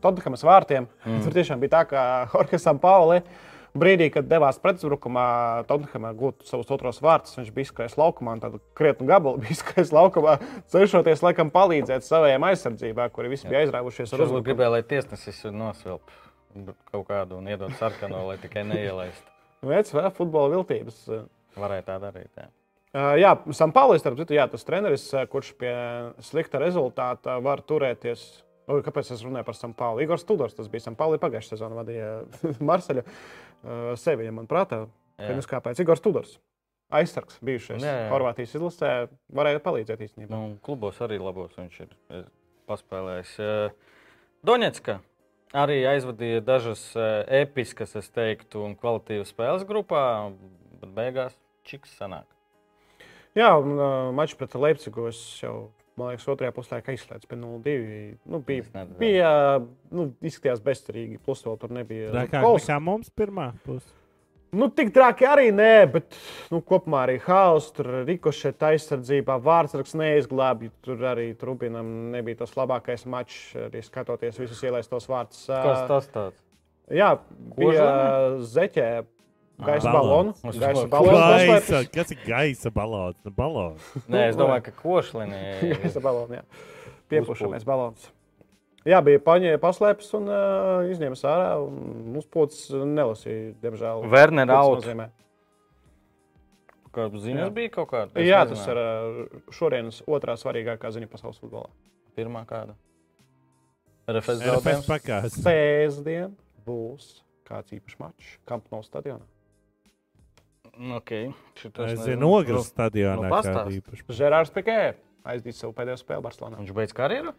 Speaker 1: Tottenhamas vārtiem. Mm. Tur tiešām bija tā, ka Horkesam Pauli brīdī, kad devās pretuzbrukumā, Tottenhamā gūt savus otros vārtus, viņš bija izskrējis laukumā, un tad krietni gabalu bija izskrējis laukumā, cenšoties laikam palīdzēt saviem aizsardzībā, kuri visi bija aizrāvušies ar
Speaker 2: Tur
Speaker 1: uzbrukumu.
Speaker 2: gribēju, lai tiesnesis nosvilp kaut kādu un iedod sarkano, lai tikai neielaistu.
Speaker 1: Veids vēl futbola viltības.
Speaker 2: Varēja tā darīt. Jā.
Speaker 1: Uh, Jā, Sampaulis, starp citu, jā, tas treneris, uh, kurš pie slikta rezultāta var turēties. Oi, Kāpēc es runāju par Sampauli? Igor Studors, tas bija Sampauli pagājušā sezonā, vadīja Marseļu uh, Sevilla, manuprāt.
Speaker 2: Jā.
Speaker 1: Pirms kāpēc Igor Studors, aizsargs, bijušais
Speaker 2: Jā, jā.
Speaker 1: Horvātijas izlasē, varēja palīdzēt īstenībā.
Speaker 2: Nu, klubos arī labos viņš ir eh, paspēlējis. Eh, Donetska arī aizvadīja dažas eh, episkas, es teiktu, un kvalitīvas spēles grupā, bet beigās čiks sanāk.
Speaker 1: Jā, un uh, mačs pret Leipzigu es jau, man liekas, otrajā puslaikā izslēdzu pie 0-2. Nu, bija,
Speaker 2: Es neredzēju.
Speaker 1: bija, nu, izskatījās bezcerīgi, plus vēl tur nebija.
Speaker 3: Trakāk
Speaker 1: Kols-
Speaker 3: nekā mums pirmā puse.
Speaker 1: Nu, tik traki arī nē, bet nu, kopumā arī haoss, tur rikošē aizsardzībā, vārdsargs neizglābj. Tur arī Trubinam nebija tas labākais mačs, arī skatoties visus ielaistos vārdus.
Speaker 2: Kas tas tāds?
Speaker 1: Jā, bija
Speaker 2: Kožlēna?
Speaker 1: zeķē gaisa
Speaker 3: balons.
Speaker 1: balons. Gaisa
Speaker 2: Uz
Speaker 1: balons.
Speaker 3: Gaisa,
Speaker 1: noslēpts.
Speaker 3: kas ir gaisa balons? Nu, balons.
Speaker 2: Nē, es domāju, ka košlinī.
Speaker 1: Gaisa balons, jā. Piepūšamies balons. Jā, bija paņēmis, paslēpis un uh, izņēmis ārā. un Uzpūts nelasīja, diemžēl.
Speaker 2: Werner
Speaker 1: Ko tas
Speaker 2: out.
Speaker 1: nozīmē.
Speaker 2: Kā ziņas
Speaker 1: Jā.
Speaker 2: bija kaut kāda? Es
Speaker 1: Jā,
Speaker 2: nezināju.
Speaker 1: tas ir ā, šorienas otrā svarīgākā ziņa pasaules futbolā.
Speaker 2: pirmā kāda. RFS
Speaker 3: Pēc
Speaker 2: zaudējums.
Speaker 3: pakās.
Speaker 1: Pēcdien būs kāds īpašs mačs Kampno stadionā.
Speaker 2: Okay. šitas Nu,
Speaker 3: Es
Speaker 2: nezinu.
Speaker 3: zinu,
Speaker 2: nu,
Speaker 3: ogres stadionā kāda
Speaker 2: pastāsti.
Speaker 3: īpaša.
Speaker 1: Žerārs Pikē aizdīs savu pēdējo spēli Barcelonā.
Speaker 2: Nu, Viņš beidz karjeru?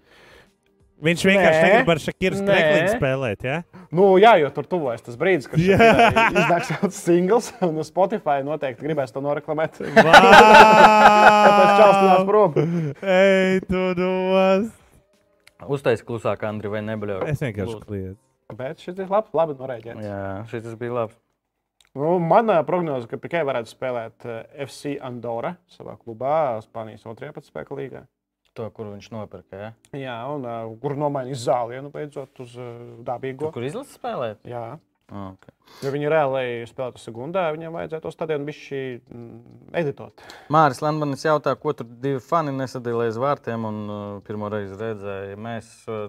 Speaker 3: Viņš vienkārši
Speaker 1: Nē.
Speaker 3: negrib ar Šakiru
Speaker 1: Nē.
Speaker 3: Skrekliņu spēlēt, jā? Ja?
Speaker 1: Nu, jā, jo tur tuvojas tas brīdis, kad
Speaker 3: Jā.
Speaker 1: Shakira iznāks tāds singls, un uz Spotify noteikti gribēs to noreklamēt. Tas čels nāc
Speaker 3: Vau!
Speaker 1: prom.
Speaker 3: Ej, tu domās!
Speaker 2: Uztais klusāk, Andri, vai nebļauj?
Speaker 3: Es vienkārši kliedzu.
Speaker 1: Bet šis ir labi, labi norēģēts.
Speaker 2: Jā, šis bija labs.
Speaker 1: Nu, manā prognozē, ka Pikē varētu spēlēt eh, FC Andorra savā klubā, Spānijas otrajā pēc spēka līgā.
Speaker 2: To, kur viņš nopirka, jā?
Speaker 1: Jā, un uh, kur nomainīja zāli, ja nu beidzot uz uh, dabīgo.
Speaker 2: Tur, kur izlases spēlēt?
Speaker 1: Jā,
Speaker 2: Ah, okay.
Speaker 1: Jo viņi reāli spēlētu sekundā, viņam vajadzētu to stadionu bišķi mm, editot.
Speaker 2: Māris Lamberts jautā, ko tur divi fani nesadalīja aiz vārtiem. Un, uh, pirmo reizi redzēja, mēs uh,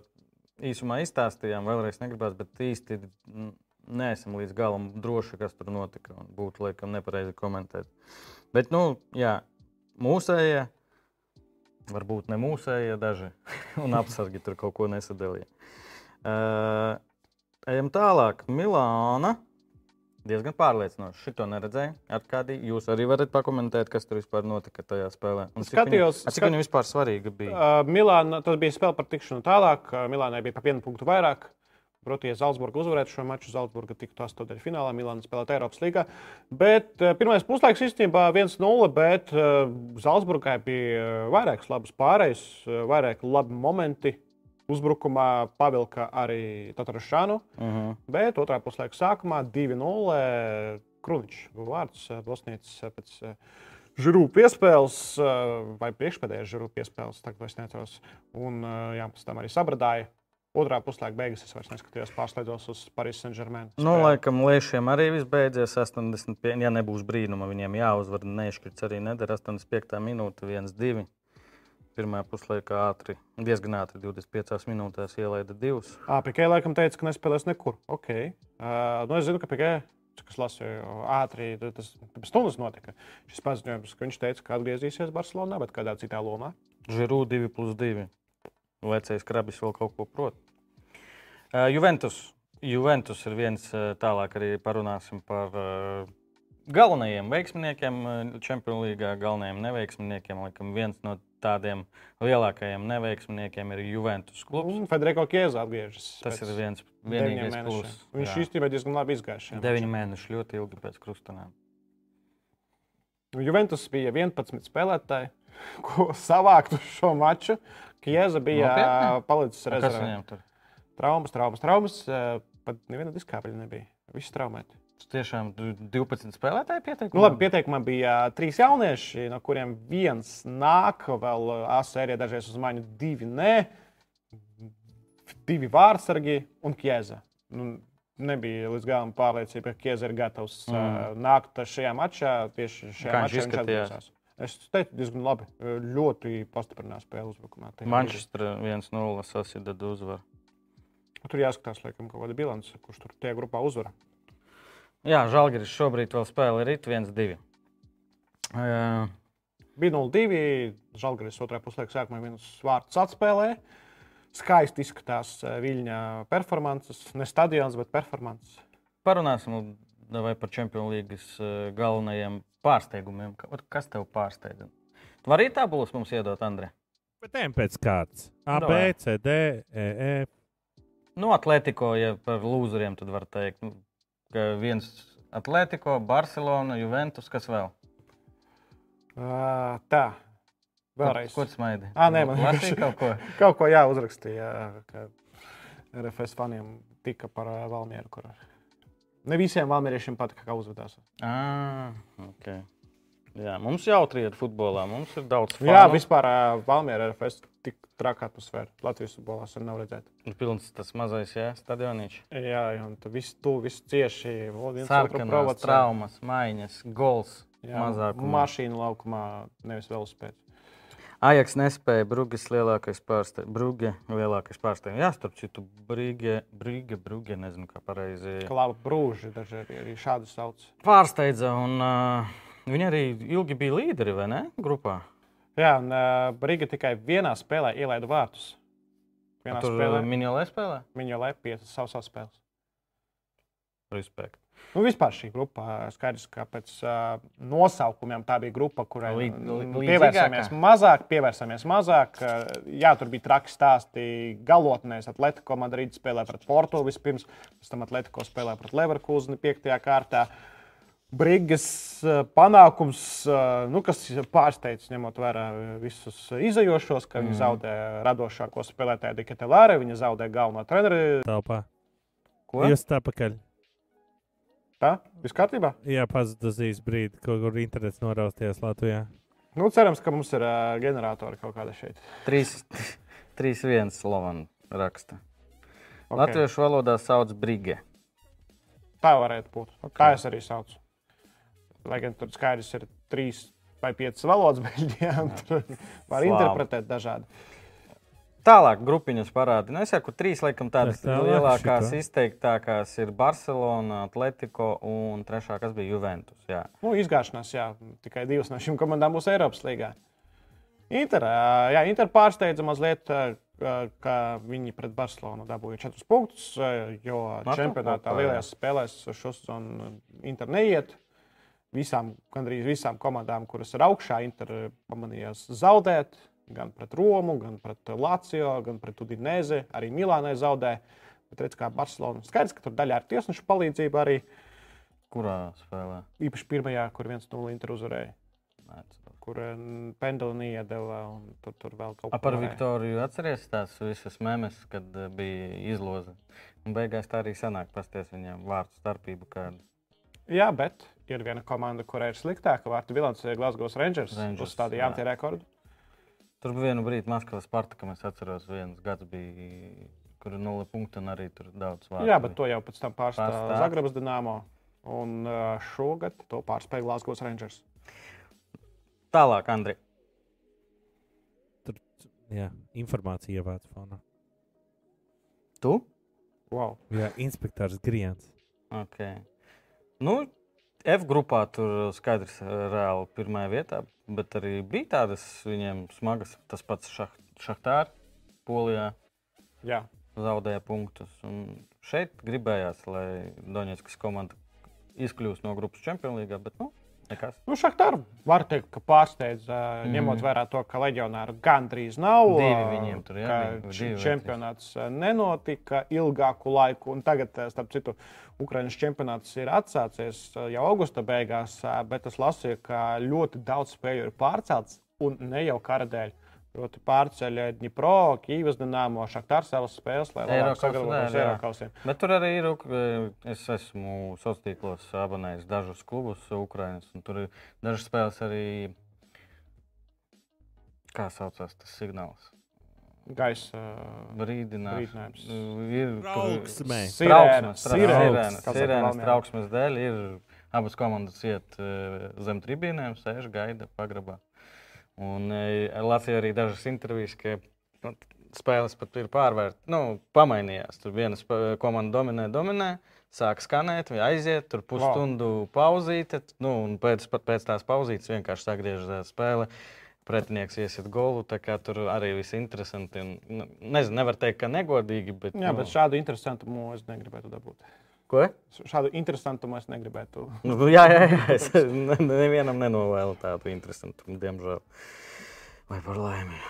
Speaker 2: īsumā izstāstījām, vēlreiz negribās, bet īsti mm, neesam līdz galam droši, kas tur notika. un Būtu laikam nepareizi komentēt. Bet, nu, jā, mūsējie, varbūt ne mūsējie daži, un apsargi tur kaut ko nesadalīja. Uh, ejam tālāk. Milāna. Diezgan pārliecinoši. Šito neredzēju. Ar kādī jūs arī varat pakomentēt, kas tur vispār notika tajā spēlē. Un cik
Speaker 1: Skatījos-
Speaker 2: viņa, a, cik
Speaker 1: skat-
Speaker 2: viņa vispār svarīga bija?
Speaker 1: Uh, Milāna, tas bija spēle par tikšanos tālāk. Uh, Milānai bija pa vienu punktu vairāk. Proti, ja Zeltsburga uzvarētu šo maču, Zeltsburga tiktu astotdaļā finālā, Milāna spēlētu Eiropas līgā. Bet uh, pirmais puslaiks īstenībā 1-0, bet uh, Zeltsburgai bija uh, vairākas labas pārējas, uh, vairāk labi momenti. Uzbrukumā pavilka arī Tataršanu,
Speaker 2: Uh -huh.
Speaker 1: bet otrā puslaika sākumā 2-0 Kruničs guva vārds uh, Bosnijas uh, pēc uh, žirūpa iespējas, uh, vai priekšpēdējais žirūpa iespējas, tagad vairs neatceros. Un uh, jā, pēc tam arī sabradāja. Otrā puslaika beigas es vairs neskatījos, pārslēdzos uz Parīzes Saint-Germain.
Speaker 2: Nu, laikam, Lēšiem arī viss beidzies 85. Ja nebūs brīnuma, viņiem jāuzvar. Neiškrits arī nedara 85. minūte, 1-2. Pirmā puslaika ātri, diezgan ātri, 25 minūtēs ielaida divus.
Speaker 1: Ah, Pikē laikam teica, ka nespēlēs nekur. Okay. Uh, nu, es zinu, ka Pikē, kas lasīja ātri, tas pirms stundas notika. Šis paziņojums, ka viņš teica, ka atgriezīsies Barcelonā, bet kādā citā lomā.
Speaker 2: Žirū 2 plus 2. Vecais krabis vēl kaut ko prot. Uh, Juventus. Juventus ir viens uh, tālāk arī parunāsim par uh, galvenajiem veiksminiekiem uh, Champions League, galvenajiem neveiksminiekiem. Laikam viens no tādiem lielākajiem neveiksminiekiem ir Juventus klubs.
Speaker 1: Un Federico Kieza atgriežas.
Speaker 2: Tas
Speaker 1: pēc
Speaker 2: ir viens
Speaker 1: deviņiem
Speaker 2: vienīgais
Speaker 1: mēnešiem.
Speaker 2: klubs.
Speaker 1: Viņš īstenībā diezgan labi izgāja. šajā mačā.
Speaker 2: 9 mēneši ļoti ilgi pēc krustenēm.
Speaker 1: Juventus bija 11 spēlētāji, ko savāktu šo maču. Kieza bija
Speaker 2: Nopietni?
Speaker 1: palicis
Speaker 2: Un Nu, Kas
Speaker 1: rezervē.
Speaker 2: viņam tur?
Speaker 1: Traumas, traumas, traumas. eh, Pat neviena diskāpeļa nebija. Visi traumēti.
Speaker 2: Tiešām du- 12 spēlētāji pieteikti?
Speaker 1: Nu, labi, pieteikumā bija trīs jaunieši, no kuriem viens nāk, vēl A sērijā dažreiz uz mani divi nē, divi vārdsargi un kieza. Nu, nebija līdz galam pārliecība, ka kieza ir gatavs mm. uh, nākt šajā mačā. Tieši šajā
Speaker 2: Kā viņš
Speaker 1: mačā viņš
Speaker 2: izskatījās?
Speaker 1: atgriezās. Es teicu, diezgan labi. eh, Ļoti pastiprinājās spēles uzbrukumā. tajā brīdī.
Speaker 2: Manchester 1-0 sasida uzvaru.
Speaker 1: Tur jāskatās, laikam, kaut kāda bilance, kurš tur tajā grupā uzvar.
Speaker 2: Jā, Žalgiris šobrīd vēl spēlē rīt 1-2. Uh,
Speaker 1: Bija 0-2. Žalgaris otrā puslaika sākumā viens vārds atspēlēja. Skaisti izskatās eh, viņa performances. Ne stadions, bet performances.
Speaker 2: parunāsim davai par Champions Leagues eh, galvenajiem pārsteigumiem. Ka- ot Kas tev pārsteidza? Tu vari arī tabulas mums iedot, Andri?
Speaker 3: Bet ejam pēc kārtas. A,
Speaker 2: Nu,
Speaker 3: B,
Speaker 2: davai.
Speaker 3: C, D, E, E.
Speaker 2: Nu, Atletico, ja par lūzeriem, tad var teikt, nu, ka viens Atletico, Barcelona, Juventus, kas vēl?
Speaker 1: Ā, Tā, vēlreiz.
Speaker 2: Ko tu smaidi?
Speaker 1: Ā, nē, man
Speaker 2: Lasīji
Speaker 1: vienkārši-
Speaker 2: kaut ko.
Speaker 1: Kaut ko jāuzrakstīja, eh, ka RFS faniem tika par eh, Valmieru. Kur... Ne visiem valmieriešiem patika, kā uzvedās.
Speaker 2: Ah, okay. Jā, mums jautri ir futbolā, mums ir daudz fanu.
Speaker 1: Jā, vispār eh, Valmiera RFS tik traka atmosfēra. Latvijas futbolā sen nav redzēta.
Speaker 2: Pilns tas mazais, jā, stadionīčs.
Speaker 1: Jā, un tu viss tu, viss cieši. vēl viens otru
Speaker 2: Sarkanās
Speaker 1: provocē.
Speaker 2: traumas, maiņas, gols. Mazākumā.
Speaker 1: Mašīna laukumā nevis velospēdā.
Speaker 2: Ajaks nespēja, Brūgis lielākais pārsteigums. Brūgis lielākais pārsteigums. Jā, starp citu, Brīge, Brīge, Brūgis, nezinu, kā pareizi.
Speaker 1: Klāba brūži daži arī, arī šādi sauc.
Speaker 2: Pārsteidza, un uh, viņi arī ilgi bija līderi, vai ne? Grupā.
Speaker 1: Jā, un uh, Brīga tikai vienā spēlē ielaida vārtus. Vienā Tur,
Speaker 2: Tur
Speaker 1: spēlē
Speaker 2: minēlē spēlē?
Speaker 1: viņa jau lēpa piecas savas spēles.
Speaker 2: Respekt.
Speaker 1: Nu, vispār šī grupa, skaidrs, ka pēc uh, nosaukumiem tā bija grupa, kurai
Speaker 2: Lī-
Speaker 1: nu,
Speaker 2: lī-
Speaker 1: pievērsāmies
Speaker 2: līdzīgākā?
Speaker 1: mazāk, pievērsāmies mazāk. Uh, jā, tur bija traki stāsti galotnēs. Atletico Madrid spēlē pret Porto vispirms, pēc tam Atletico spēlē pret Leverkusen 5. kārtā. Brīgas eh, panākums, eh, nu, kas pārsteidz, ņemot vērā visus izējošos, ka viņi zaudē radošāko spēlētāju Diketelāru, viņi zaudē galveno treneru.
Speaker 3: Telpā.
Speaker 2: Ko?
Speaker 3: Jūs tā pakaļ.
Speaker 1: Tā, viss kārtībā?
Speaker 3: Jā, pazudīs brīdi, kaut kur internets norausties Latvijā.
Speaker 1: Nu, cerams, ka mums ir uh, ģeneratori kaut kāda šeit.
Speaker 2: 3-1 Slovan raksta.
Speaker 1: Ok.
Speaker 2: Okay. Latviešu valodā sauc Brīge.
Speaker 1: Tā varētu būt. Okay. Tā es arī saucu. Lai gan tur skaidrs ir trīs vai piecas valodas, bet jā, tur var
Speaker 2: Slāvu.
Speaker 1: interpretēt dažādi.
Speaker 2: Tālāk grupiņas parādi. Nu, es saku, trīs laikam tādas
Speaker 3: Jā, tālāk
Speaker 2: lielākās,
Speaker 3: šito.
Speaker 2: izteiktākās ir Barcelona, Atletico un trešā, kas bija Juventus. Jā.
Speaker 1: Nu, izgāšanās, jā, tikai divas no šīm komandām būs Eiropas līnijā. Inter, ā, jā, Inter pārsteidza mazliet, ā, ā, ka viņi pret Barcelonu dabūja četrus punktus, ā, jo
Speaker 2: Matematikā,
Speaker 1: čempionātā
Speaker 2: jā.
Speaker 1: lielajās spēlēs šo sezonu Inter neiet. Visām, gandrīz visām komandām, kuras ir augšā, Inter pamanījās zaudēt. Gan pret Romu, gan pret Lācijo, gan pret Udinēzi. Arī Milānai zaudēja. Bet redz, kā Barcelona. Skaidrs, ka tur daļā ir tiesnešu palīdzība arī
Speaker 2: Kurā spēlē?
Speaker 1: īpaši pirmajā, kur viens no Inter uzvarēja,
Speaker 2: Neatceros.
Speaker 1: kur Pendelīna iedeva un tur, tur vēl kaut
Speaker 2: A, Par
Speaker 1: varēja.
Speaker 2: Viktoriju atceries tās visas memes, kad eh, bija izloze. Un beigās tā arī sanāk, pasties viņam vārdu starpību, kāda
Speaker 1: Jā, bet ir viena komanda, kurai ir sliktāka vārta bilance, ir Glasgow Rangers.
Speaker 2: Rangers,
Speaker 1: Uzstādīja
Speaker 2: jā.
Speaker 1: jāmtie rekordu.
Speaker 2: Tur bija viena brīdi Maskavas Spartakam, es atceros, viens gads bija, kur bija nulle punkti un arī tur daudz vārdu.
Speaker 1: Jā, bet to jau pēc tam pārstāv
Speaker 2: Pārstāv.
Speaker 1: Zagrebas Dienāmo. Un ā, šogad to pārspēja Glasgow Rangers.
Speaker 2: Tālāk, Andri.
Speaker 3: Tur jā, informācija ievāc fonā.
Speaker 2: Tu?
Speaker 1: Wow.
Speaker 3: Jā, inspektors Grijans.
Speaker 2: Okay. Nu, F grupā tur skaidrs eh, reāli pirmā vietā, bet arī bija tādas viņiem smagas, tas pats šah, šahtāri Polijā.
Speaker 1: Jā,
Speaker 2: zaudēja punktus. Un šeit gribējās, lai Doņetskas komanda izkļūst no grupas čempionāta, bet nu, nekas.
Speaker 1: nu, Šaktar var teikt, ka pārsteidz, mm. ņemot vērā to, ka leģionāru gandrīz nav.
Speaker 2: Mhm. Divi
Speaker 1: ā,
Speaker 2: viņiem tur, jā,
Speaker 1: ka
Speaker 2: bija,
Speaker 1: č-
Speaker 2: divi vai
Speaker 1: Čempionāts ā, nenotika ilgāku laiku, un tagad, ā, starp citu, Ukraiņas čempionāts ir atsācies ā, jau augusta beigās, ā, bet es lasīju, ka ļoti daudz spēļu ir pārcelts, un ne jau kara dēļ. Proti pārceļ ā, Dņipro, Kīvas Dienāmo, Šaktar savas spēles, lai labāk
Speaker 2: Eirokausā,
Speaker 1: sagatavotos
Speaker 2: jā.
Speaker 1: Eirokausiem.
Speaker 2: Bet tur arī ir. uk- Es esmu sociālos tīklos abonējis dažus klubus, Ukraiņas. Tur ir dažas spēles arī. Kā saucās tas signāls?
Speaker 1: Gaisa
Speaker 2: Brīdinājums.
Speaker 1: Brīdinājums.
Speaker 2: Ir tur-
Speaker 3: Trauksme.
Speaker 1: Sirēna, sirēna,
Speaker 2: Trauksmes, sirēnas,
Speaker 1: kā saka
Speaker 2: sirēnas
Speaker 1: Valmjerā.
Speaker 2: trauksmes dēļ ir abas komandas iet eh, zem tribīnēm, sēž gaida pagrabā. Un eh, Latvijā arī dažas intervijas, ka nu, spēles pat ir pārvērtas, nu, pamainījās. Tur viena spē- komanda dominē, dominē. Sāk skanēt, vai aiziet, tur pusstundu pauzīte. Nu, un pēc, pat pēc tās pauzītes vienkārši sagriežas spēle. Pretinieks iesiet golu. tā kā Tur arī viss interesanti. Un, nu, nezinu, nevar teikt, ka negodīgi. Bet,
Speaker 1: Jā,
Speaker 2: nu,
Speaker 1: bet šādu interesantu mūziku es negribētu dabūt.
Speaker 2: Ko?
Speaker 1: Šādu interesantu mūziku es negribētu.
Speaker 2: Nu, jā, jā, jā, es ne- nevienam nenovēlu tādu interesantu, diemžēl. Vai par laimi?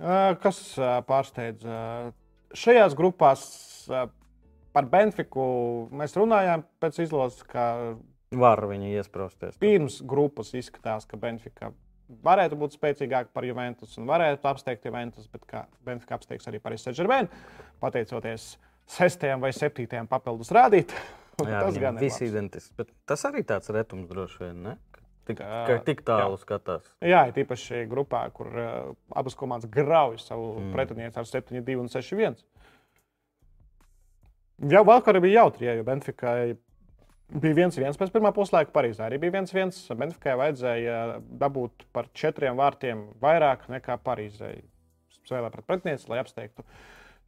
Speaker 1: Ā, Eh, Kas ā, pārsteidz? ā, Šajās grupās ā, par Benfiku mēs runājām pēc izlases, ka
Speaker 2: Var viņu iesprosties.
Speaker 1: pirms grupas izskatās, ka Benfika varētu būt spēcīgāka par Juventus un varētu apsteigt Juventus, bet kā Benfika apsteigs arī Paris Saint-Germain, pateicoties sestajam vai septītajam papildus rādīt.
Speaker 2: Jā,
Speaker 1: tas gan ir
Speaker 2: viss
Speaker 1: labs.
Speaker 2: identisks. Bet tas arī tāds retums droši vien, ne? Ka Tik,
Speaker 1: Kā-
Speaker 2: ka tik tālu skatās.
Speaker 1: Jā, ir īpaši grupā, kur uh, abas komandas grauj savu mm. pretinieci ar 7, 2 un 6, 1. Jā, vakarā bija jautri, ja, jo Benfica bija 1-1 pēc pirmā puslaika. Parīzē arī bija 1-1. Benficai vajadzēja dabūt par četriem vārtiem vairāk nekā Parīzē. Spēlē pret pretinieci, lai apsteigtu.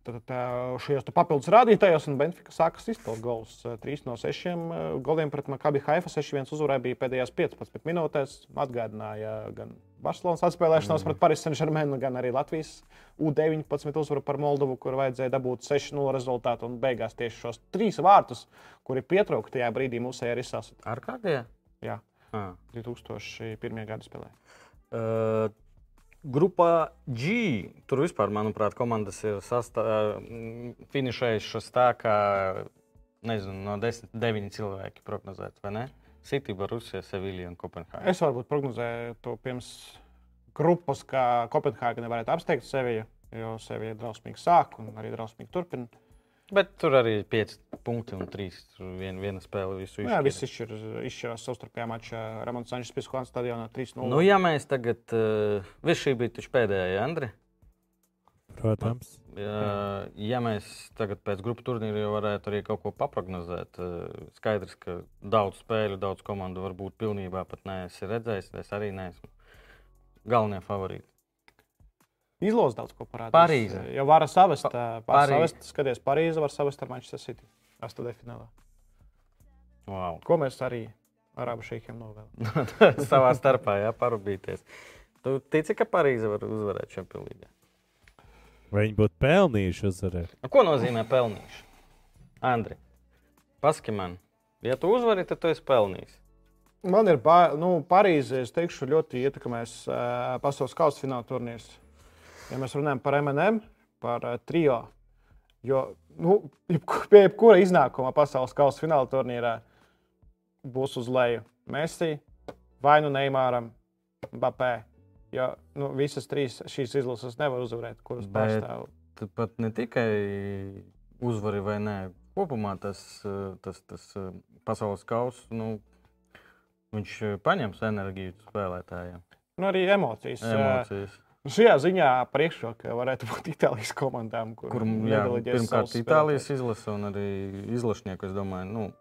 Speaker 1: Tad ā, šajos te papildus rādītājos, un Benfica sākas izpildīt gols. 3 no 6 goliem pret Makabi Haifa 6-1 uzvarēja bija pēdējās 15 minūtēs. Atgādināja gan Barcelonas atspēlēšanos mm. pret Paris Saint-Germain, gan arī Latvijas U-19 uzvaru par Moldovu, kur vajadzēja dabūt 6-0 rezultātu un beigās tieši šos trīs vārtus, kuri pietrūka tajā brīdī mūsējā risās.
Speaker 2: Ar kādiem?
Speaker 1: Jā,
Speaker 2: Ah.
Speaker 1: 2001. gada spēlē.
Speaker 2: Uh, Grupā G. Tur vispār, manuprāt, komandas ir sastā- mm, finišējušas tā, ka nezinu, no 10, 9 cilvēki prognozēti, vai ne? City, Borusija, Sevilla un Kopenhāga.
Speaker 1: Es varbūt prognozēju to pirms grupas, ka Kopenhāgena varētu apsteigt sevi, jo sevi ir drausmīgi sāk un arī drausmīgi turpina. Nu
Speaker 2: Bet tur arī ir 5 punkti un 3. Tur vien, viena spēle visu
Speaker 1: Nu, jā,
Speaker 2: izšķir.
Speaker 1: viss izšķir, izšķirās savstarpējā mačā. Ramons Sančes Piskons stadionā 3-0.
Speaker 2: eh, Nu, ja mēs tagad, uh, viss šī bija taču pēdējā, ja, Andri?
Speaker 3: Protams.
Speaker 2: Ja, ja mēs tagad pēc grupu turnīra jau varētu arī kaut ko paprognozēt, eh, skaidrs, ka daudz spēļu, daudz komandu varbūt pilnībā pat neesi redzējis. Es arī neesmu galvenie favorīti.
Speaker 1: Izlozi daudz ko parādīs.
Speaker 2: Parīze.
Speaker 1: Jau var savest,
Speaker 2: Pa-
Speaker 1: var
Speaker 2: Parīze.
Speaker 1: savest, skaties, Parīze var savest ar Manchester City. Astotē finālā.
Speaker 2: Wow.
Speaker 1: Ko mēs arī Arabu šeikiem novēlam.
Speaker 2: Savā starpā jā, parūpīties. Tu tici, ka Parīze var uzvarēt šajā līnijā?
Speaker 3: Vai viņi būtu pelnījuši uzvarēt?
Speaker 2: Nu, ko nozīmē pelnīšu? Andri, paski man, ja tu uzvari, tad tu esi pelnījis.
Speaker 1: Man ir ba- nu, Parīze, es teikšu, ļoti ietekmēs uh, pasaules kausa fināla turnīrs. Ja mēs runājam par MNM, par uh, trio, jo nu, jebku- pie jebkura iznākuma pasaules kausa fināla turnīrā būs uz leju Messi vai nu Neimāram, Bapē. Jo nu, visas trīs šīs izlases nevar uzvarēt, kuras
Speaker 2: Bet-
Speaker 1: pārstāv.
Speaker 2: Tu pat ne tikai uzvari vai nē, kopumā tas, eh, tas, tas eh, pasaules kauss, nu, viņš eh, paņems enerģiju spēlētājiem,
Speaker 1: Nu, arī emocijas.
Speaker 2: eh,
Speaker 1: Ā,
Speaker 2: emocijas.
Speaker 1: Šajā ziņā priekšroka varētu būt Itālijas komandām, kur,
Speaker 2: Kur, jā,
Speaker 1: nedeleģēs
Speaker 2: pirmkārt,
Speaker 1: savus
Speaker 2: Itālijas izlase un arī izlasnieku, es domāju, nu,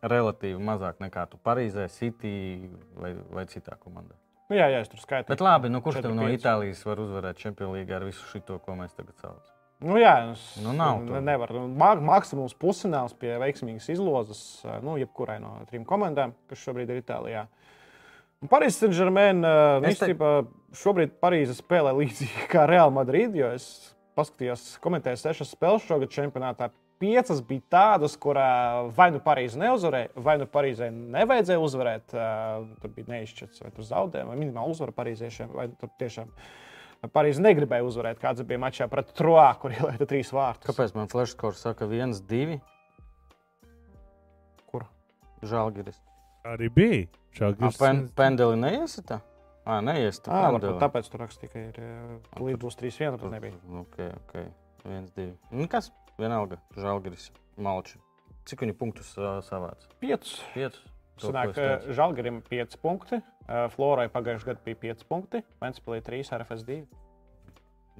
Speaker 2: relatīvi mazāk nekā tu Parīzē, City vai, vai citā komandā.
Speaker 1: spēlētājus. Nu, jā, jā, es tur skaitu.
Speaker 2: Bet labi, nu, kurš tev no
Speaker 1: 4-5?
Speaker 2: Itālijas var uzvarēt Champions League ar visu šito, ko mēs tagad saucam?
Speaker 1: Nu, jā, es,
Speaker 2: Nu, nav
Speaker 1: ne,
Speaker 2: to.
Speaker 1: nevar. Nu, ma- Maksimums pusfināls pie veiksmīgas izlozes, nu, jebkurai no trim komandām, kas šobrīd ir Itālijā. Parīzes Saint-Germain eh, nu,
Speaker 2: Es te-
Speaker 1: īstenībā šobrīd Parīze spēlē līdzīgi kā Real Madrid, jo es paskatījos, komentēju sešas spēles šogad čempionātā. Piecas bija tādas, kurā vai nu Parīze neuzvarēja, vai nu Parīzē nevajadzēja uzvarēt. eh, Tur bija neizšķirts, vai tur zaudēja, vai minimāli uzvara parīziešiem, vai tur tiešām Parīze negribēja uzvarēt. Kāds bija mačā pret Troā, kur ielaida trīs vārtus.
Speaker 2: Kāpēc man flashkors saka viens, divi?
Speaker 1: Kur?
Speaker 2: Žalgiris.
Speaker 3: Arī bija.
Speaker 2: A, Ah, pen, pendeli neiesita? Ā, neiesita.
Speaker 1: Tā, Nu, varbūt
Speaker 2: pendeli.
Speaker 1: tāpēc tur rakstīja, ka ir eh, līdz 3-1.
Speaker 2: Tur-
Speaker 1: bet nebija.
Speaker 2: Nu, Ok, ok. Viens, divi. Nu, kas? Vienalga. Žalgiris. Malči. Cik viņi punktus uh, savāca?
Speaker 1: Piecus.
Speaker 2: Piecus. To,
Speaker 1: Sanāk,
Speaker 2: ko es teicu.
Speaker 1: Žalgarim 5 punkti, eh, Florai pagājušajā gadā bija 5 punkti, Ventspēlē 3, RFS 2.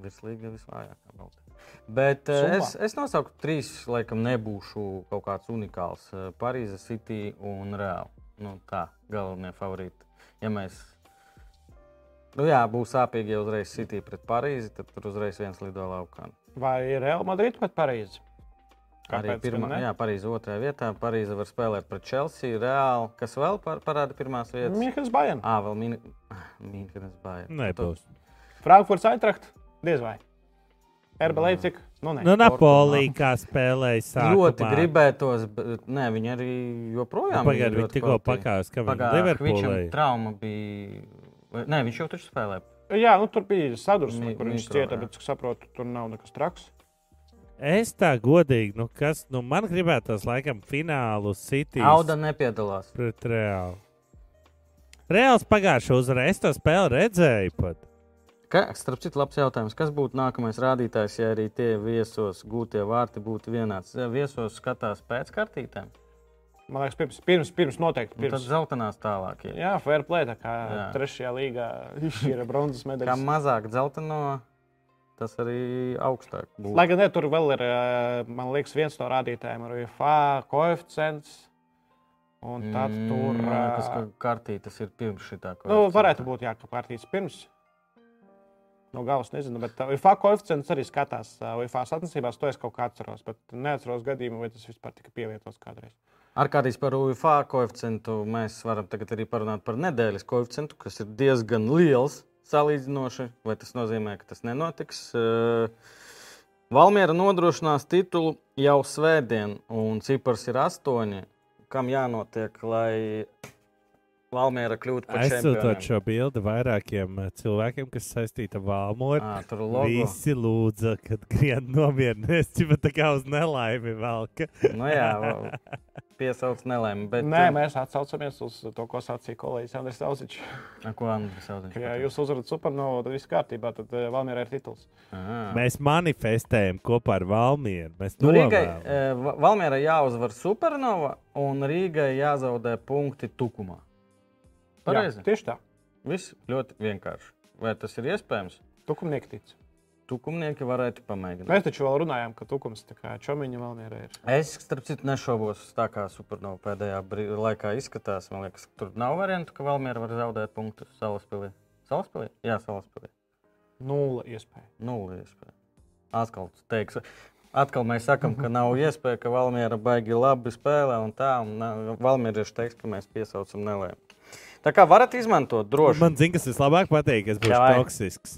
Speaker 2: Virslīga visvājākā balta. Bet Sumā.
Speaker 1: Summā.
Speaker 2: es, es nosaucu trīs, laikam, nebūšu kaut kāds unikāls. Eh, Parīze, City un Real. Nu, tā, galvenie favorīti. Ja mēs. Nu, jā, būs sāpīgi, ja uzreiz City pret Parīzi, tad tur uzreiz viens lido laukā.
Speaker 1: Vai Real Madrid pret Parīzi?
Speaker 2: Arī
Speaker 1: Kāpēc gan
Speaker 2: pirmā,
Speaker 1: ne?
Speaker 2: jā, Parīze otrajā vietā. Parīze var spēlēt pret Chelsea, Real. Kas vēl par, parāda pirmās vietas?
Speaker 1: Mihāns Bajans.
Speaker 2: Ā, vēl Mīn- Mīnhenes Bayern.
Speaker 3: Nebūs.
Speaker 1: Frankfurts Eintracht? Diez vai. Erba Leipzig? Nu, nē.
Speaker 3: Nu, Napolī kā spēlēja sākumā.
Speaker 2: Ļoti gribētos, bet nē, viņi arī joprojām. ir
Speaker 3: Nu, Pagaidiet,
Speaker 2: ļoti
Speaker 3: viņi tikko
Speaker 2: kvalitīvi.
Speaker 3: pakāpās, ka viņi
Speaker 2: Pagā-
Speaker 3: Liverpoolē.
Speaker 2: Viņam trauma bija. vai- Nē, viņš jau taču spēlēja.
Speaker 1: Jā, nu, tur bija sadursme,
Speaker 2: Mi-
Speaker 1: kur viņš
Speaker 2: mikro,
Speaker 1: cieta,
Speaker 2: jā.
Speaker 1: bet, cik saprotu, tur nav nekas traks.
Speaker 3: Es tā godīgi, nu kas, nu man gribētos laikam finālu City
Speaker 2: Auda nepiedalās.
Speaker 3: pret Reālu. Reāls pagājušā uzvarēja, es to spēli redzēju pat.
Speaker 2: Ka, starp citu, labs jautājums. Kas būtu nākamais rādītājs, ja arī tie viesos gūtie vārti būtu vienāds? Ja Viesos skatās pēc kartītēm,
Speaker 1: Man liekas, pirms, pirms, pirms noteikti.
Speaker 2: un Nu, tad
Speaker 1: Pirms.
Speaker 2: zeltainās tālāk. ir.
Speaker 1: Jā, fair play, tā kā jā.
Speaker 2: Jā.
Speaker 1: trešajā līgā ir bronzas
Speaker 2: Kā
Speaker 1: medaļa.
Speaker 2: mazāk zeltaino, tas arī augstāk būtu.
Speaker 1: Lai gan ne, tur vēl ir, eh, man liekas, viens no rādītājiem ir UFA koeficients. Un tad
Speaker 2: Mm,
Speaker 1: tur.
Speaker 2: man liekas,
Speaker 1: eh,
Speaker 2: ka kartītes ir pirms šitā. ko
Speaker 1: Nu,
Speaker 2: es
Speaker 1: varētu
Speaker 2: saku.
Speaker 1: būt jā, ka kārtības pirms. No gala nezinu, bet uh, UFO koeficients arī skatās. Uh, UFO satnicībās to es kaut kā atceros, bet neatceros gadījumu, vai tas vispār tika pievietots kādreiz.
Speaker 2: Ar kādreiz par UFO koeficientu mēs varam tagad arī parunāt par nedēļas koeficientu, kas ir diezgan liels salīdzinoši. Vai tas nozīmē, ka tas nenotiks? Eh, Valmiera nodrošinās titulu jau svētdien, un cipars ir astoņi. Kam jānotiek, lai Valmiera kļūtu par
Speaker 3: Aizsūtot
Speaker 2: čempionu?
Speaker 3: šo bildi vairākiem eh, cilvēkiem, kas saistīta ar Valmori.
Speaker 2: Ah, tur logo.
Speaker 3: Visi lūdza, kad griež nomierinies, jau tā kā uz nelaimi velka.
Speaker 2: Nu, jā, piesauc nelaimi. Bet, uh,
Speaker 1: Nē, mēs atsaucamies uz to, ko sacīja kolēģis Andris Tausičs.
Speaker 2: mēs... Ko Andris sauc?
Speaker 1: Ja jūs uzvarat supernovu, tad viss kārtībā, tad uh, Valmierā ir tituls.
Speaker 3: Mēs manifestējam kopā ar Valmieru. Mēs
Speaker 2: Ah. Nu, Rīgai,
Speaker 3: novēlam.
Speaker 2: eh, Va- Valmierai jāuzvar Supernova un Rīgai jāzaudē punkti tukumā.
Speaker 1: Jā,
Speaker 2: Pareizi.
Speaker 1: Tieši tā.
Speaker 2: Viss ļoti vienkārši. Vai tas ir iespējams?
Speaker 1: Tukumnieki tic.
Speaker 2: tukumnieki varētu pamēģināt.
Speaker 1: Mēs taču vēl runājām, ka tukums tā kā čomiņa vēl ir.
Speaker 2: Es, starp citu, nešaubos, tā kā Supernova pēdējā brī- laikā izskatās. Man liekas, ka tur nav variantu, ka Valmiera var zaudēt punktus Salaspēlē. Salaspēlē? Jā, Salaspēlē.
Speaker 1: Nula iespēja.
Speaker 2: Nulle iespēja. Atkal, teiks, atkal mēs sakām, ka nav iespēja, ka Valmiera baigi labi spēlē un tā. un na- Valmierieši teiks, ka mēs piesaucam nelēmu. Tā kā varat izmantot droši.
Speaker 3: Man zina, kas vislabāk patīk, kas būs
Speaker 2: Davai.
Speaker 3: toksisks.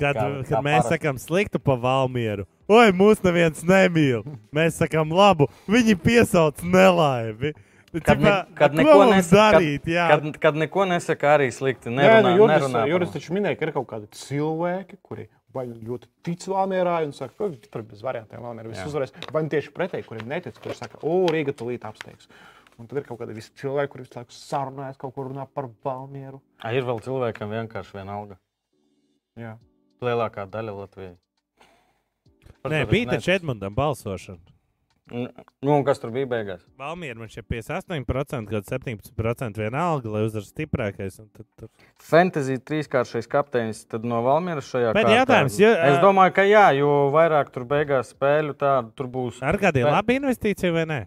Speaker 3: Kad,
Speaker 2: Kā-
Speaker 3: kad
Speaker 2: kā
Speaker 3: mēs
Speaker 2: parasti.
Speaker 3: sakām sliktu pa valmieru, oi, mūs neviens nemīl. Mēs sakām labu, viņi piesauc nelaimi.
Speaker 2: Kad, ne, kad, neko
Speaker 3: mums
Speaker 2: nes- kad,
Speaker 3: darīt, jā.
Speaker 2: kad, kad neko nesaka, arī slikti.
Speaker 1: Nē,
Speaker 2: Nerunā,
Speaker 1: nu, Juris,
Speaker 2: nerunā par
Speaker 1: Juris
Speaker 2: mums.
Speaker 1: taču minēja, ka ir kaut kādi cilvēki, kuri vai nu ļoti tic Valmierai un saka, ka tur bez variantiem Valmierai viss
Speaker 2: Jā.
Speaker 1: uzvarēs, vai nu tieši pretēji, kuriem netic, kuriem saka, o, Rīga tulīt apsteigs. Un tad ir kaut kādi visi cilvēki, kuriem visu laiku sarunājas, kaut kur runā par Valmieru.
Speaker 2: Ai, Ir vēl cilvēkam vienkārši vienalga.
Speaker 1: Jā.
Speaker 2: Lielākā daļa Latvijai. Par
Speaker 3: Nē,
Speaker 2: to
Speaker 3: bija
Speaker 2: es
Speaker 3: taču Edmundam balsošana.
Speaker 2: nezinu. Nu, un kas tur bija beigās?
Speaker 3: Valmieram viņš ir 58%, kad 17% vienalga, lai uzvarētu stiprākais. un tad tur-
Speaker 2: Fantasy trīskāršais kapteinis tad no Valmieras šajā
Speaker 3: Bet
Speaker 2: kārtā.
Speaker 3: jautājums, jo,
Speaker 2: es
Speaker 3: ā,
Speaker 2: domāju, ka jā, jo vairāk tur beigās spēļu, tā tur būs.
Speaker 3: Ar kādiem
Speaker 2: Bet-
Speaker 3: labiem investīcijiem vai nē?